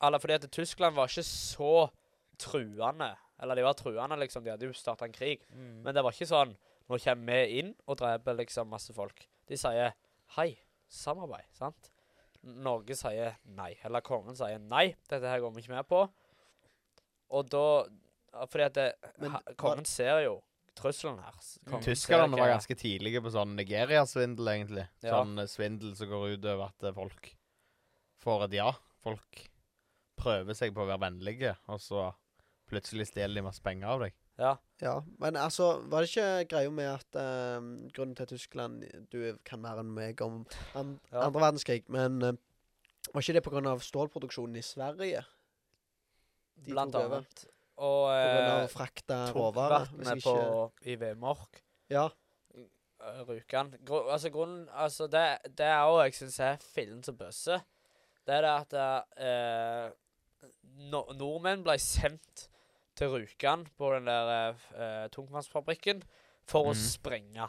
Speaker 2: Eller fordi at Tyskland var ikke så truende. Eller de var truende, liksom. De hadde jo starta en krig.
Speaker 4: Mm.
Speaker 2: Men det var ikke sånn Nå kommer vi inn og dreper liksom masse folk. De sier hei, samarbeid, sant? N- Norge sier nei. Eller kongen sier nei, dette her går vi ikke med på. Og da ja, Fordi at det,
Speaker 1: Men
Speaker 2: ha,
Speaker 1: d-
Speaker 2: kongen ser jo trusselen her. S- kongen ser
Speaker 3: Tyskerne
Speaker 2: hva-
Speaker 3: var ganske tidlige på sånn Nigeria-svindel, egentlig.
Speaker 2: Ja.
Speaker 3: Sånn eh, svindel som går ut over at eh, folk får et ja. Folk prøver seg på å være vennlige, og så plutselig stjeler de masse penger av deg.
Speaker 2: Ja.
Speaker 1: Ja, men altså, var det ikke greia med at ehm, grunnen til Tyskland Du kan mer enn meg om an
Speaker 2: Ja.
Speaker 1: andre verdenskrig, men eh, var ikke det pga. stålproduksjonen i Sverige? De
Speaker 2: Blant
Speaker 1: tok over.
Speaker 2: annet. Og
Speaker 1: Pga. å
Speaker 2: eh,
Speaker 1: frakte råvarer? hvis
Speaker 2: tungvaktene
Speaker 1: jeg
Speaker 2: på
Speaker 1: ikke-
Speaker 2: i Vemork
Speaker 1: Ja.
Speaker 2: eh, Rjukan Gru, Altså, grunnen Altså, det, det er òg jeg syns er fillen som bøsse. Det er det at eh, no, nordmenn ble sendt til Rjukan på den der eh, f- eh, tungvannsfabrikken for
Speaker 3: Mhm.
Speaker 2: å sprenge.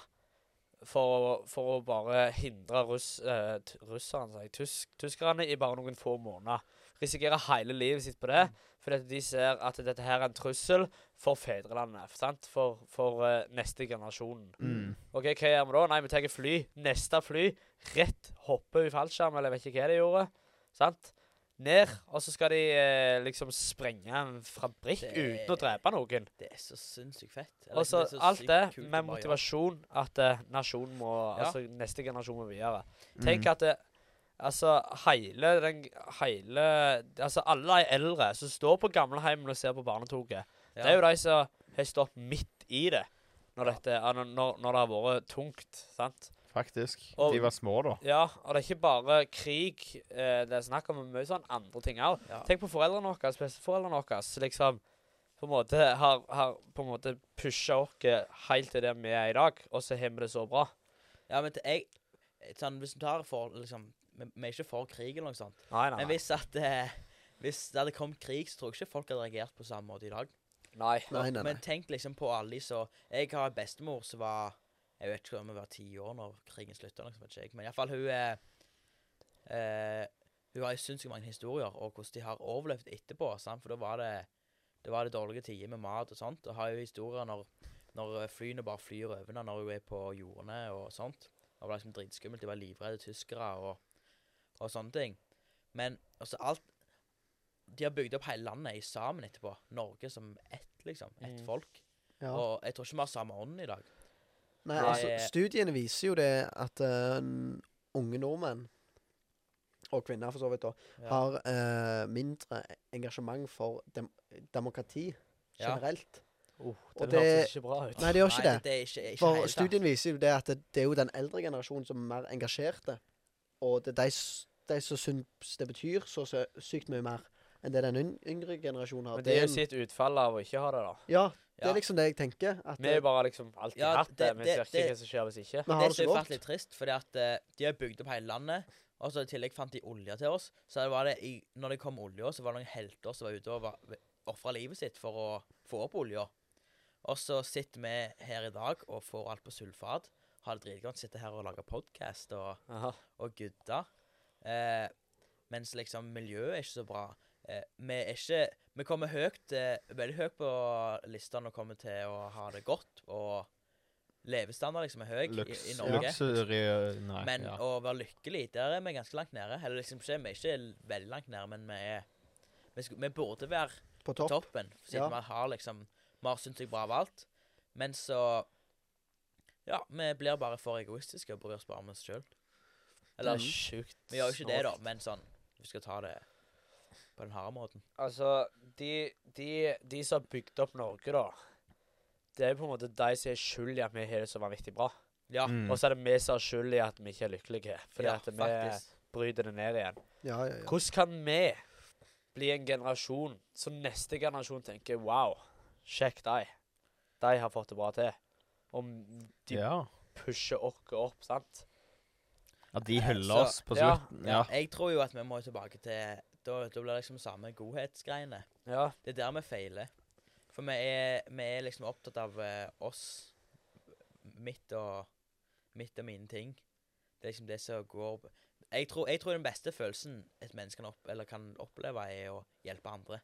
Speaker 2: For, å- for å bare hindre russ, eh, t- russerne, sier jeg, tysk, tyskerne, i bare noen få måneder. Risikerer hele livet sitt på det. Fordi at de ser at dette her er en trussel for fedrelandet. sant? For, for eh, neste generasjon.
Speaker 3: Mm.
Speaker 2: OK, hva gjør vi da? Nei, vi tar fly. Neste fly. Rett hoppe i fallskjerm, eller jeg vet ikke hva de gjorde. Sant? Ned. Og så skal de eh, liksom sprenge en fabrikk
Speaker 4: Det-
Speaker 2: uten å drepe noen.
Speaker 4: Det er så sinnssykt fett. Eller
Speaker 2: Og så
Speaker 4: liksom, er så
Speaker 2: alt
Speaker 4: sykt
Speaker 2: det
Speaker 4: kult å
Speaker 2: med
Speaker 4: bare gjøre.
Speaker 2: motivasjon at eh, nasjonen må
Speaker 4: Ja.
Speaker 2: Altså neste generasjon må videre. Tenk at det, altså hele den hele, altså Alle de eldre som står på gamleheimen og ser på barnetoget,
Speaker 4: Ja.
Speaker 2: det er jo de som har stått midt i det når, dette, ja, når- når, når det har vært tungt. sant?
Speaker 3: Faktisk.
Speaker 2: Og-
Speaker 3: de var små, da.
Speaker 2: Ja, og det er ikke bare krig eh, det er snakk om, men mye sånn andre ting òg.
Speaker 4: Ja.
Speaker 2: Tenk på foreldrene våre, besteforeldrene våre, som liksom på en måte har, har på en måte pusha oss helt til der vi er i dag, og så har vi det så bra.
Speaker 4: Ja, men t- jeg sånn, Hvis du tar for liksom Vi vi er ikke for krig eller noe sånt.
Speaker 2: Nei, nei,
Speaker 4: Men
Speaker 2: nei.
Speaker 4: hvis at eh, Hvis det hadde kommet krig, så tror jeg ikke folk hadde reagert på samme måte i dag.
Speaker 2: nei.
Speaker 1: Nei, nei, nei.
Speaker 4: Men tenk liksom på alle de som Jeg har en bestemor som var Jeg vet ikke om hun var ti år når krigen slutta, liksom, vet ikke jeg. Men iallfall hun eh, eh, Hun har jo sinnssykt mange historier, og hvordan de har overlevd etterpå. Sant? For da var det Da var det dårlige tider med mat og sånt. Og har jo historier når, når eh, flyene bare flyr over henne når hun er på jordene og sånt. Det var liksom dritskummelt. De var livredde tyskere og, og sånne ting. Men altså alt De har bygd opp hele landet i sammen etterpå. Norge som ett, liksom. Ett
Speaker 2: Mm.
Speaker 4: folk.
Speaker 1: Ja.
Speaker 4: Og jeg tror ikke vi har samme ånd i dag.
Speaker 1: Nei,
Speaker 2: Nei.
Speaker 1: altså, studiene viser jo det at eh, n- unge nordmenn, og kvinner for så vidt, da,
Speaker 4: Ja.
Speaker 1: har eh, mindre engasjement for dem demokrati
Speaker 4: Ja.
Speaker 1: generelt.
Speaker 2: Oh,
Speaker 1: Og
Speaker 2: det
Speaker 1: det-
Speaker 2: høres ikke bra ut.
Speaker 1: Nei, det gjør ikke
Speaker 4: Nei,
Speaker 1: det.
Speaker 4: det er ikke, ikke
Speaker 1: For
Speaker 4: hele tatt.
Speaker 1: studien viser jo det at det, det er jo den eldre generasjonen som er mer engasjerte. Og det er de, s- de som syns det betyr så sø- sykt mye mer. enn det den yng- yngre generasjonen har.
Speaker 2: Men det er jo
Speaker 1: en-
Speaker 2: sitt utfall av å ikke ha det, da.
Speaker 1: Ja, det
Speaker 4: Ja.
Speaker 1: er liksom det jeg tenker. At
Speaker 2: Vi har
Speaker 1: det,
Speaker 2: jo bare liksom alltid
Speaker 4: Ja,
Speaker 2: hatt det,
Speaker 4: det-
Speaker 2: men
Speaker 4: det-
Speaker 2: ser ikke
Speaker 4: det-
Speaker 2: hva som skjer hvis ikke.
Speaker 1: vi har
Speaker 4: Det er
Speaker 1: det
Speaker 4: så
Speaker 1: så godt.
Speaker 4: ufattelig trist, fordi at eh, de har bygd opp hele landet. Og så i tillegg fant de olje til oss. Så det var det i, når det kom olje, så var det noen helter som var ute og var- ofra livet sitt for å få opp olja. Og så sitter vi her i dag og får alt på sulfat. Har det dritgodt. Sitter her og lager podkast og,
Speaker 2: Aha.
Speaker 4: og gudder. Eh, mens liksom miljøet er ikke så bra. Eh, vi er ikke Vi kommer høyt, eh, veldig høyt på lista når det kommer til å ha det godt, og levestandard liksom er høy i,
Speaker 3: Lux,
Speaker 4: i Norge.
Speaker 3: Luxury eh, Nei.
Speaker 4: Men
Speaker 3: ja.
Speaker 4: å være lykkelig, der er vi ganske langt nede. Eller liksom ikke, vi er ikke veldig langt nede, men vi er Vi, sku- vi burde være
Speaker 1: På
Speaker 4: på
Speaker 1: topp.
Speaker 4: toppen,
Speaker 1: Ja.
Speaker 4: siden vi har liksom Vi har syntes jeg bra av alt. Men så Ja, vi blir bare for egoistiske og bryr oss bare om oss sjøl.
Speaker 2: Det
Speaker 4: Eller
Speaker 2: er sjukt.
Speaker 4: vi gjør jo ikke det, da,
Speaker 2: snålt.
Speaker 4: men sånn Vi skal ta det på den harde måten.
Speaker 2: Altså, de, de, de som har bygd opp Norge, da. Det er på en måte de som er skyld i at vi har det så vanvittig bra.
Speaker 4: Ja,
Speaker 3: Mm.
Speaker 2: Og så er det vi som har skyld i at vi ikke er lykkelige. Fordi
Speaker 4: ja
Speaker 2: at vi
Speaker 4: faktisk.
Speaker 2: bryter det ned igjen.
Speaker 1: Ja, ja, ja.
Speaker 2: Hvordan kan vi bli en generasjon som neste generasjon tenker Wow, sjekk de. De har fått det bra til. Om de
Speaker 3: ja.
Speaker 2: pusher oss opp, sant?
Speaker 3: At de hyller
Speaker 4: Så-
Speaker 3: oss på
Speaker 2: ja.
Speaker 3: slutten.
Speaker 4: Ja.
Speaker 3: Ja.
Speaker 4: Jeg tror jo at vi må tilbake til Da, da blir det liksom samme godhetsgreiene.
Speaker 2: Ja.
Speaker 4: Det er der vi feiler. For vi er, vi er liksom opptatt av eh, oss, mitt og, mitt og mine ting. Det er liksom det som går jeg tror, jeg tror den beste følelsen et menneske kan, opp, eller kan oppleve, er å hjelpe andre.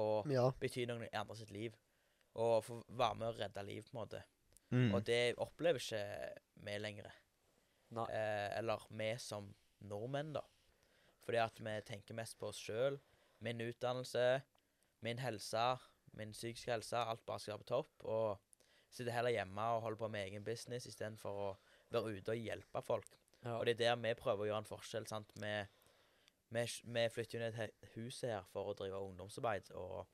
Speaker 4: Og
Speaker 1: ja.
Speaker 4: bety noe i andre sitt liv. Og få være med å redde liv, på en måte.
Speaker 3: Mm.
Speaker 4: Og det opplever ikke vi lenger.
Speaker 2: Nei.
Speaker 4: Eh, eller vi som nordmenn, da. Fordi at vi tenker mest på oss sjøl. Min utdannelse, min helse, min psykiske helse. Alt bare skal være på topp. Og sitter heller hjemme og holder på med egen business istedenfor å være ute og hjelpe folk.
Speaker 2: ja.
Speaker 4: Og det er der vi prøver å gjøre en forskjell. sant? Vi, vi, vi flytter jo ned til he- huset her for å drive ungdomsarbeid. og...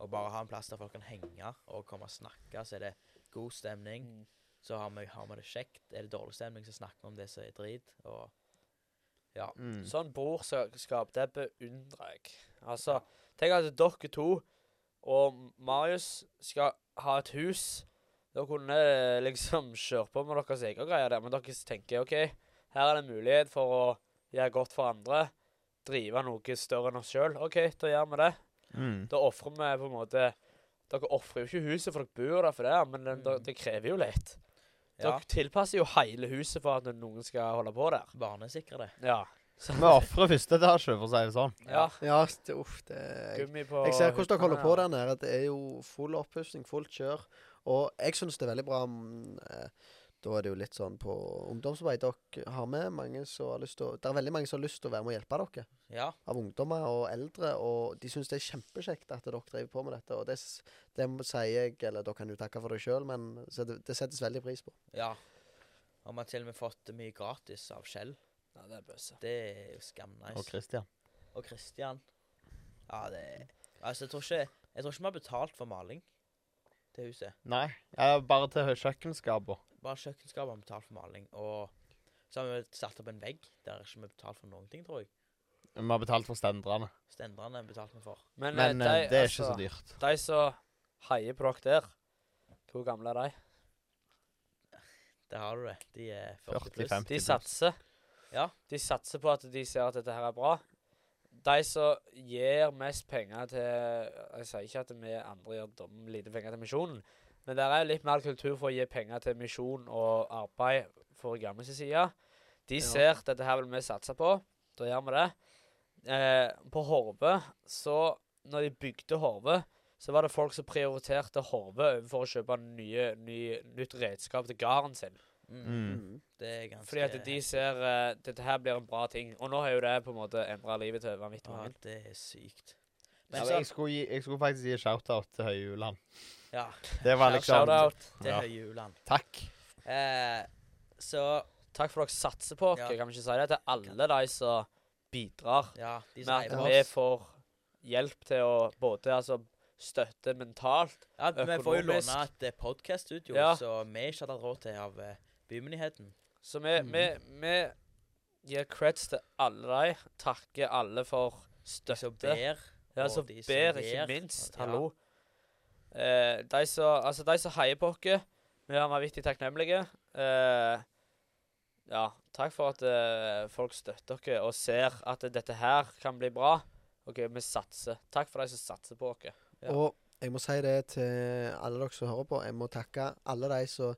Speaker 4: Og bare ha en plass der folk kan henge og komme og snakke, så er det god stemning
Speaker 2: Mm.
Speaker 4: så har vi, har vi det kjekt. Er det dårlig stemning, så snakker vi om det som er drit. Og
Speaker 3: Mm.
Speaker 2: Sånn brorskap, det beundrer jeg. Altså, tenk at dere to og Marius skal ha et hus. Dere kunne eh, liksom kjøre på med deres egne greier der, men dere tenker OK, her er det mulighet for å gjøre godt for andre. Drive noe større enn oss sjøl. OK, da gjør vi det.
Speaker 3: Mm.
Speaker 2: Da ofrer vi på en måte Dere ofrer jo ikke huset, for dere bor der for det, men det,
Speaker 4: Mm.
Speaker 2: det krever jo litt.
Speaker 4: ja,
Speaker 2: Dere tilpasser jo hele huset for at noen skal holde på der.
Speaker 4: barnesikre det.
Speaker 2: Ja.
Speaker 3: Vi ofrer første etasje, for å si det sånn.
Speaker 2: ja.
Speaker 1: ja det, uff, det jeg,
Speaker 2: Gummi på
Speaker 1: jeg ser hvordan dere holder på
Speaker 2: hyttene,
Speaker 1: der nede. Det er jo full oppussing, fullt kjør. Og jeg syns det er veldig bra om eh, Da er det jo litt sånn på ungdomsarbeid dere har med. Mange som har lyst til å, det er veldig mange som har lyst til å være med og hjelpe dere.
Speaker 4: Ja,
Speaker 1: Av ungdommer og eldre. Og de syns det er kjempekjekt at dere driver på med dette. Og det, s- det må- sier jeg, eller dere kan jo takke for det sjøl, men så det, det settes veldig pris på.
Speaker 4: ja. Og vi har til og med fått mye gratis av Skjell.
Speaker 2: Ja, det er bøsse.
Speaker 4: Det er jo skamnice.
Speaker 3: Og Christian.
Speaker 4: Og Christian. Ja, det Altså, jeg tror ikke Jeg tror ikke vi har betalt for maling til huset.
Speaker 3: Nei, eh, bare til kjøkkenskapet.
Speaker 4: Bare kjøkkenskapet har betalt for maling. Og så har vi satt opp en vegg. Der har ikke vi betalt for noen ting, tror jeg.
Speaker 3: Vi har betalt for stendrene.
Speaker 4: Stendrene betalte vi for.
Speaker 2: Men, eh,
Speaker 3: Men
Speaker 2: de,
Speaker 3: eh, det er
Speaker 2: altså,
Speaker 3: ikke så dyrt.
Speaker 2: De som heier på dere der, hvor gamle er de?
Speaker 4: Der har du det. De er 40 pluss.
Speaker 3: 40-50.
Speaker 2: De satser.
Speaker 4: Ja.
Speaker 2: De satser på at de ser at dette her er bra. De som gir mest penger til Jeg sier ikke at vi andre gir dum- lite penger til misjonen, men det er litt mer kultur for å gi penger til misjon og arbeid for gamle sin side. De
Speaker 1: Ja.
Speaker 2: ser at dette her vil vi satse på. Da gjør vi det. Eh, på Horve, så Når de bygde Horve, så var det folk som prioriterte Horve overfor å kjøpe nye, ny, nytt redskap til gården sin.
Speaker 4: Mm.
Speaker 3: Mm.
Speaker 4: Det er ganske
Speaker 2: Fordi at de ser uh, dette her blir en bra ting. Og nå har jo det på en måte endra livet til vanvittig
Speaker 4: Ja,
Speaker 2: mange.
Speaker 4: det er sykt.
Speaker 3: Ja,
Speaker 4: Men
Speaker 3: men jeg,
Speaker 4: så,
Speaker 3: skulle gi, jeg skulle faktisk gi shout-out til Høyuland.
Speaker 4: ja,
Speaker 3: Det var
Speaker 2: Ja,
Speaker 3: liksom
Speaker 2: Shout-out.
Speaker 4: det
Speaker 3: Ja.
Speaker 4: er julen.
Speaker 3: Takk.
Speaker 4: Eh, så
Speaker 2: Takk for dere satser på oss.
Speaker 4: Ja.
Speaker 2: Kan vi ikke si det til alle de som bidrar
Speaker 4: ja, de
Speaker 2: med
Speaker 4: som heier
Speaker 2: at
Speaker 4: på
Speaker 2: vi
Speaker 4: oss.
Speaker 2: får hjelp til å både altså, støtte mentalt
Speaker 4: Ja, vi får jo
Speaker 2: økonomisk.
Speaker 4: låne et eh, podcaststudio
Speaker 2: Ja.
Speaker 4: som vi ikke hadde hatt råd til av eh, bymyndigheten. Mm.
Speaker 2: Så vi, vi, vi gir creds til alle de. Takker alle for
Speaker 4: De som
Speaker 2: støtte.
Speaker 4: ber.
Speaker 2: Ja,
Speaker 4: og
Speaker 2: som
Speaker 4: de
Speaker 2: ber,
Speaker 4: som
Speaker 2: ikke
Speaker 4: ber,
Speaker 2: minst.
Speaker 4: ja.
Speaker 2: Hallo. Eh, de som altså, de som heier på oss, vi er vanvittig takknemlige. Eh, ja, takk for at eh, folk støtter oss og ser at dette her kan bli bra. OK, vi satser. Takk for de som satser på oss.
Speaker 4: Ja.
Speaker 1: Og jeg må si det til alle dere som hører på. Jeg må takke alle de som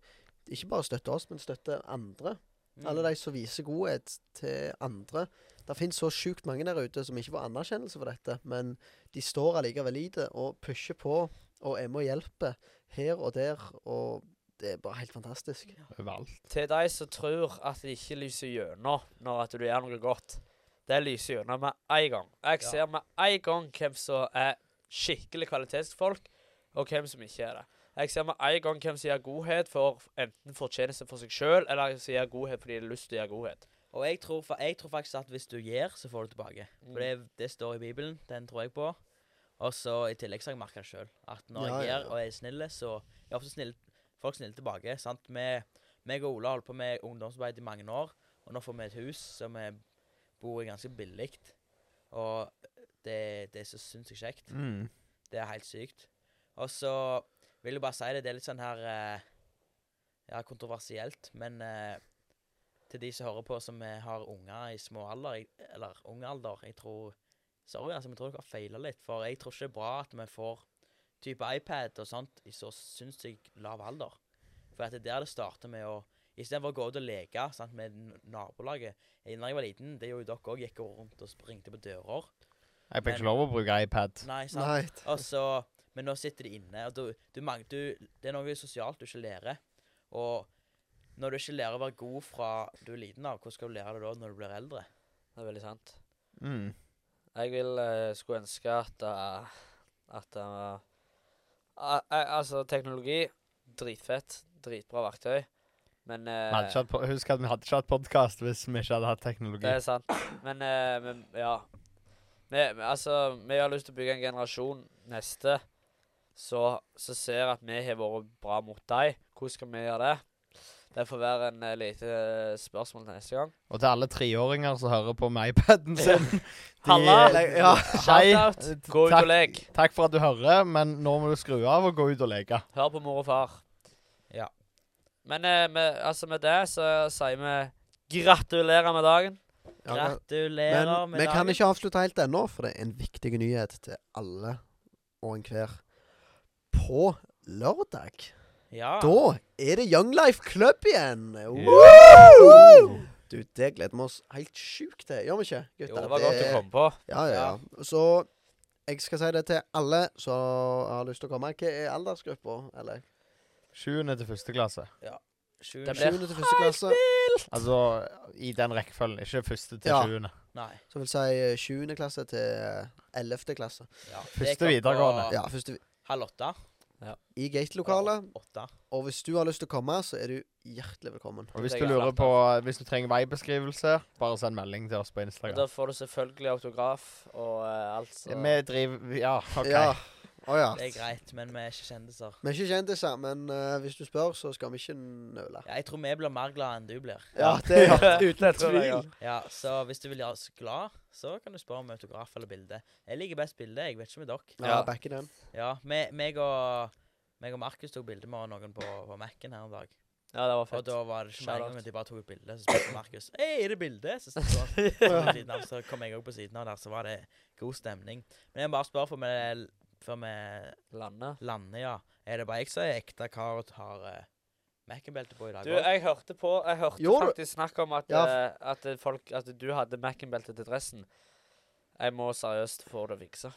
Speaker 1: ikke bare støtter oss, men støtter andre.
Speaker 2: Mm.
Speaker 1: Alle de som viser godhet til andre. Det finnes så sjukt mange der ute som ikke får anerkjennelse for dette, men de står allikevel i det og pusher på og er med og hjelper her og der, og det er bare helt fantastisk.
Speaker 3: Overalt.
Speaker 2: Til de som tror at det ikke lyser gjennom når at du gjør noe godt. Det lyser gjennom med en gang. Jeg
Speaker 4: Ja.
Speaker 2: ser med en gang hvem som er skikkelig kvalitetsfolk, og hvem som ikke er det. Jeg ser med en gang hvem som gjør godhet for enten fortjeneste for seg sjøl, eller som gjør godhet fordi de har lyst til å gjøre godhet.
Speaker 4: Og jeg tror, fa- jeg tror faktisk at hvis du gir, så får du tilbake. For
Speaker 1: Mm.
Speaker 4: det, det står i Bibelen, den tror jeg på. Og så i tillegg så har jeg merka det sjøl. At når
Speaker 1: Ja,
Speaker 4: jeg
Speaker 1: ja,
Speaker 4: gir og er snill, så er ofte snille, folk snille tilbake. sant? Vi, meg og Ola har holdt på med ungdomsarbeid i mange år, og nå får vi et hus som vi bor i ganske billig. Og det, det er så sinnssykt kjekt.
Speaker 3: Mm.
Speaker 4: Det er helt sykt. Og så vil jeg bare si det, det er litt sånn her eh, Ja, kontroversielt, men eh, til de som hører på som eh, har unger i små alder, jeg- eller ung alder, jeg tror Sorry, altså, vi tror dere har feila litt, for jeg tror ikke det er bra at vi får type iPad og sånt i så sinnssykt lav alder. For at det er der det starter med å Istedenfor å gå ut og leke sant, med n- nabolaget Jeg- Når jeg var liten, det gjorde jo dere òg, gikk rundt og sp- ringte på dører.
Speaker 3: Jeg fikk ikke lov å bruke iPad.
Speaker 4: Nei, sant?
Speaker 1: Nei.
Speaker 4: Og så, men nå sitter de inne, og du, du, mang- du, det er noe sosialt du ikke lærer. Og når du ikke lærer å være god fra du er liten av, hvordan skal du lære det da når du blir eldre?
Speaker 2: Det er veldig sant.
Speaker 3: Mm.
Speaker 2: Jeg vil eh, skulle ønske at eh, at eh, a- a- Altså, teknologi dritfett. Dritbra verktøy. Men
Speaker 3: Vi
Speaker 2: eh,
Speaker 3: hadde ikke hatt po- Husk at vi hadde ikke hatt podkast hvis vi ikke hadde hatt
Speaker 2: Det
Speaker 3: teknologi.
Speaker 2: er sant. Men, eh, men ja. Vi, vi- altså, vi har lyst til å bygge en generasjon neste så, så ser at vi har vært bra mot dem. Hvordan skal vi gjøre det? Det får være en eh, lite eh, spørsmål til neste gang.
Speaker 3: Og til alle treåringer som hører på med iPaden sin de-
Speaker 2: Halla!
Speaker 3: Ja, hei.
Speaker 2: Shout-out! Gå ut og
Speaker 3: Takk,
Speaker 2: lek.
Speaker 3: takk for at du hører, men nå må du skru av og gå ut og leke.
Speaker 2: Hør på mor og far.
Speaker 4: Ja.
Speaker 2: Men eh, med, altså med det så sier vi gratulerer med dagen.
Speaker 1: Ja,
Speaker 4: Gratulerer
Speaker 1: Men vi kan ikke avslutte helt ennå, for det er en viktig nyhet til alle og enhver. På lørdag,
Speaker 4: Ja.
Speaker 1: da er det Young Life Club igjen! Woo! Du, det gleder vi oss helt sjukt til, gjør vi ikke? gutter?
Speaker 4: Jo,
Speaker 2: Det var godt å komme på.
Speaker 1: Ja, ja, ja. Så jeg skal si det til alle som har lyst til å komme. Hva er aldersgruppa? Eller
Speaker 3: Sjuende til første klasse.
Speaker 4: Sju-
Speaker 2: Det blir
Speaker 1: sjuende til første klasse?
Speaker 3: Altså i den rekkefølgen. Ikke første til
Speaker 1: Ja.
Speaker 3: sjuende.
Speaker 4: Nei.
Speaker 1: Så vil si eh, sjuende klasse til eh, ellevte klasse.
Speaker 4: Ja.
Speaker 3: Første
Speaker 4: Det er klokka
Speaker 3: videregående.
Speaker 1: Ja, første
Speaker 4: Halv åtte.
Speaker 1: i gatelokalet.
Speaker 4: Åtte.
Speaker 1: Og hvis du har lyst til å komme, så er du hjertelig velkommen.
Speaker 3: Og hvis
Speaker 2: Det
Speaker 3: du
Speaker 2: er altså.
Speaker 3: lurer
Speaker 2: flatt,
Speaker 3: på Hvis du trenger veibeskrivelse, bare send melding til oss på
Speaker 2: Og
Speaker 3: Instagram.
Speaker 2: da får du selvfølgelig autograf og eh, alt. så-
Speaker 3: Vi driver Ja, OK.
Speaker 1: Ja. Å ja.
Speaker 4: Det er greit, men vi er ikke kjendiser.
Speaker 1: Vi er ikke kjendiser, men eh, hvis du spør, så skal vi ikke nøle.
Speaker 4: Ja, jeg tror vi blir mer glad enn du blir.
Speaker 1: Ja, det er
Speaker 2: Det
Speaker 1: uten
Speaker 2: tror jeg, ja.
Speaker 1: tvil.
Speaker 4: Ja, Så hvis du vil gjøre oss glad, så kan du spørre om autograf eller bilde. Jeg liker best bilde. Jeg vet ikke med dere.
Speaker 1: Ja,
Speaker 2: Ja.
Speaker 1: back in den.
Speaker 4: Ja, me- meg og, meg og Markus tok bilde med noen på, på Mac-en her en dag.
Speaker 2: Ja, det var
Speaker 4: Og
Speaker 2: fett.
Speaker 4: da var det ikke med en
Speaker 2: Shout
Speaker 4: gang
Speaker 2: out.
Speaker 4: at de bare tok et bilde, så spurte Markus Hei, er det bilde? Så, stod han på siden av, så kom jeg òg på siden av der, så var det god stemning. Men jeg må bare spørre før vi, før vi
Speaker 2: Landet.
Speaker 4: lander, ja. Er det bare jeg som er ekte kar og har uh, Mac-belte på i dag?
Speaker 2: Du,
Speaker 4: også?
Speaker 2: jeg hørte på Jeg hørte
Speaker 1: Gjorde du?
Speaker 2: faktisk snakk om at,
Speaker 1: Ja,
Speaker 2: eh, at, folk, at du hadde Mac-belte til dressen. Jeg må seriøst få det fiksa.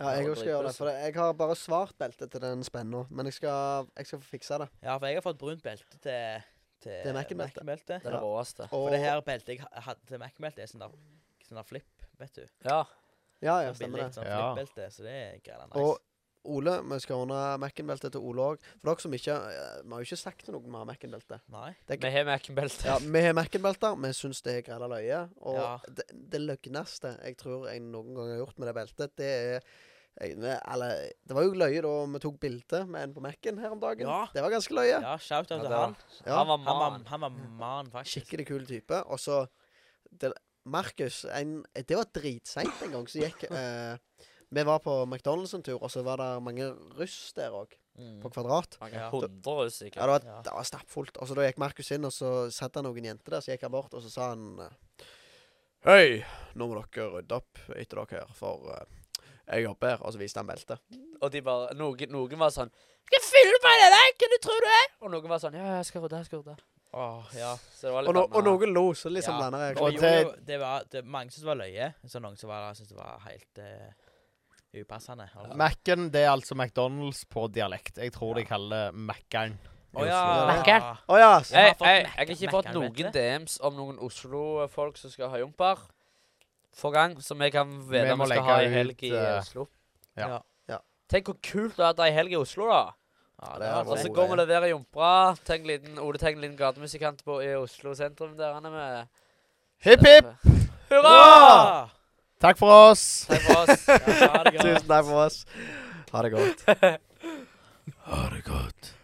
Speaker 1: Ja, jeg
Speaker 2: Ja,
Speaker 1: også skal gjøre det.
Speaker 2: dritbra,
Speaker 1: For jeg har bare svart belte til den spenna, men jeg skal, jeg skal få fiksa det.
Speaker 4: Ja, for jeg har fått brunt belte til, til
Speaker 1: Til Mac-en belte.
Speaker 2: Det er det råeste.
Speaker 1: Og,
Speaker 4: For det her beltet jeg ha- hadde til Mac-belte, er sånn der, sånn der flip, vet du.
Speaker 2: Ja.
Speaker 1: Ja, ja,
Speaker 4: Ja,
Speaker 1: stemmer
Speaker 4: billig
Speaker 1: det.
Speaker 4: sånn
Speaker 3: Ja.
Speaker 4: flip-belte, så det er greit nice.
Speaker 1: Og Ole, vi skal ordne Mac-en-beltet til Ole òg. For dere som ikke eh, Vi har jo ikke sagt til noen vi har Mac-en-belte.
Speaker 4: Nei.
Speaker 2: Vi har Mac-belte.
Speaker 1: Ja, vi har Mac-en-belter. Vi syns det er grella løye. Og
Speaker 4: Ja.
Speaker 1: det, det løgneste jeg tror jeg noen gang har gjort med det beltet, det er jeg, eller, det var jo løye da vi tok bilde med en på Mac-en her om dagen.
Speaker 4: Ja.
Speaker 1: Det var ganske løye.
Speaker 4: Ja, shout-out
Speaker 2: Ja,
Speaker 4: til
Speaker 2: det var-
Speaker 4: han.
Speaker 1: Ja.
Speaker 2: Han var
Speaker 4: Han var,
Speaker 2: mann.
Speaker 4: han var man, faktisk.
Speaker 1: Skikkelig kul type. Og så det, Markus en- Det var dritseint en gang, så gikk eh, Vi var på McDonald's en tur, og så var det mange russ der òg,
Speaker 4: Mm.
Speaker 1: på Kvadrat.
Speaker 2: Mange
Speaker 4: Ja.
Speaker 2: hundre russ, sikkert.
Speaker 1: Ja, det var,
Speaker 4: Ja.
Speaker 1: det var stappfullt. Og så da gikk Markus inn, og så satt det noen jenter der, så gikk han bort, og så sa han eh, Hei, nå må dere rydde opp etter dere her, for eh, jeg jobber her. Og så viste han beltet.
Speaker 2: Og de bare Noen, noen var sånn Skal jeg fylle meg det der? Hvem du tror du er? Og noen var sånn Ja, ja, jeg skal rydde, jeg skal rydde.
Speaker 4: Åh, ja.
Speaker 2: Så det var
Speaker 1: Og,
Speaker 2: litt
Speaker 1: no, og
Speaker 2: blandet.
Speaker 1: noen lo, så liksom
Speaker 4: Ja.
Speaker 3: Og
Speaker 1: blanda jeg.
Speaker 4: Vi
Speaker 3: til-
Speaker 4: gjorde jo, det var, det, mange syntes det var løye, så noen som var, syntes det var helt eh, upassende. altså.
Speaker 3: Mac-en det er altså McDonald's på dialekt. Jeg tror de kaller det Mac-en.
Speaker 4: Å ja.
Speaker 2: Mac-en.
Speaker 1: Å ja! s-
Speaker 2: Jeg,
Speaker 4: Jeg har
Speaker 2: jeg,
Speaker 4: fått
Speaker 2: jeg,
Speaker 4: Mac-
Speaker 2: har ikke fått
Speaker 4: Mac-en, vet du
Speaker 2: noen
Speaker 4: det?
Speaker 2: DMs om noen Oslo-folk som skal ha jumper for gang, som jeg kan
Speaker 3: Vi
Speaker 2: vite om
Speaker 3: må
Speaker 2: vi skal
Speaker 3: legge
Speaker 2: ha i
Speaker 3: ut,
Speaker 2: helg i
Speaker 3: eh,
Speaker 2: Oslo.
Speaker 3: Ja.
Speaker 1: Ja.
Speaker 2: Tenk hvor kult det er at det er helg i Oslo, da.
Speaker 4: Ja,
Speaker 1: det
Speaker 4: det
Speaker 1: var
Speaker 4: var
Speaker 2: Og så
Speaker 1: god
Speaker 2: går vi og
Speaker 1: idé.
Speaker 2: leverer jumpra. Tenk liten, Ole Teng, liten gatemusikant på, i Oslo sentrum der han er med.
Speaker 3: Hipp, hipp!
Speaker 2: Hurra!
Speaker 3: Takk for oss!
Speaker 2: Takk for oss. Ja, ha det godt.
Speaker 1: Tusen takk for oss. Ha det godt.
Speaker 2: Ha det godt.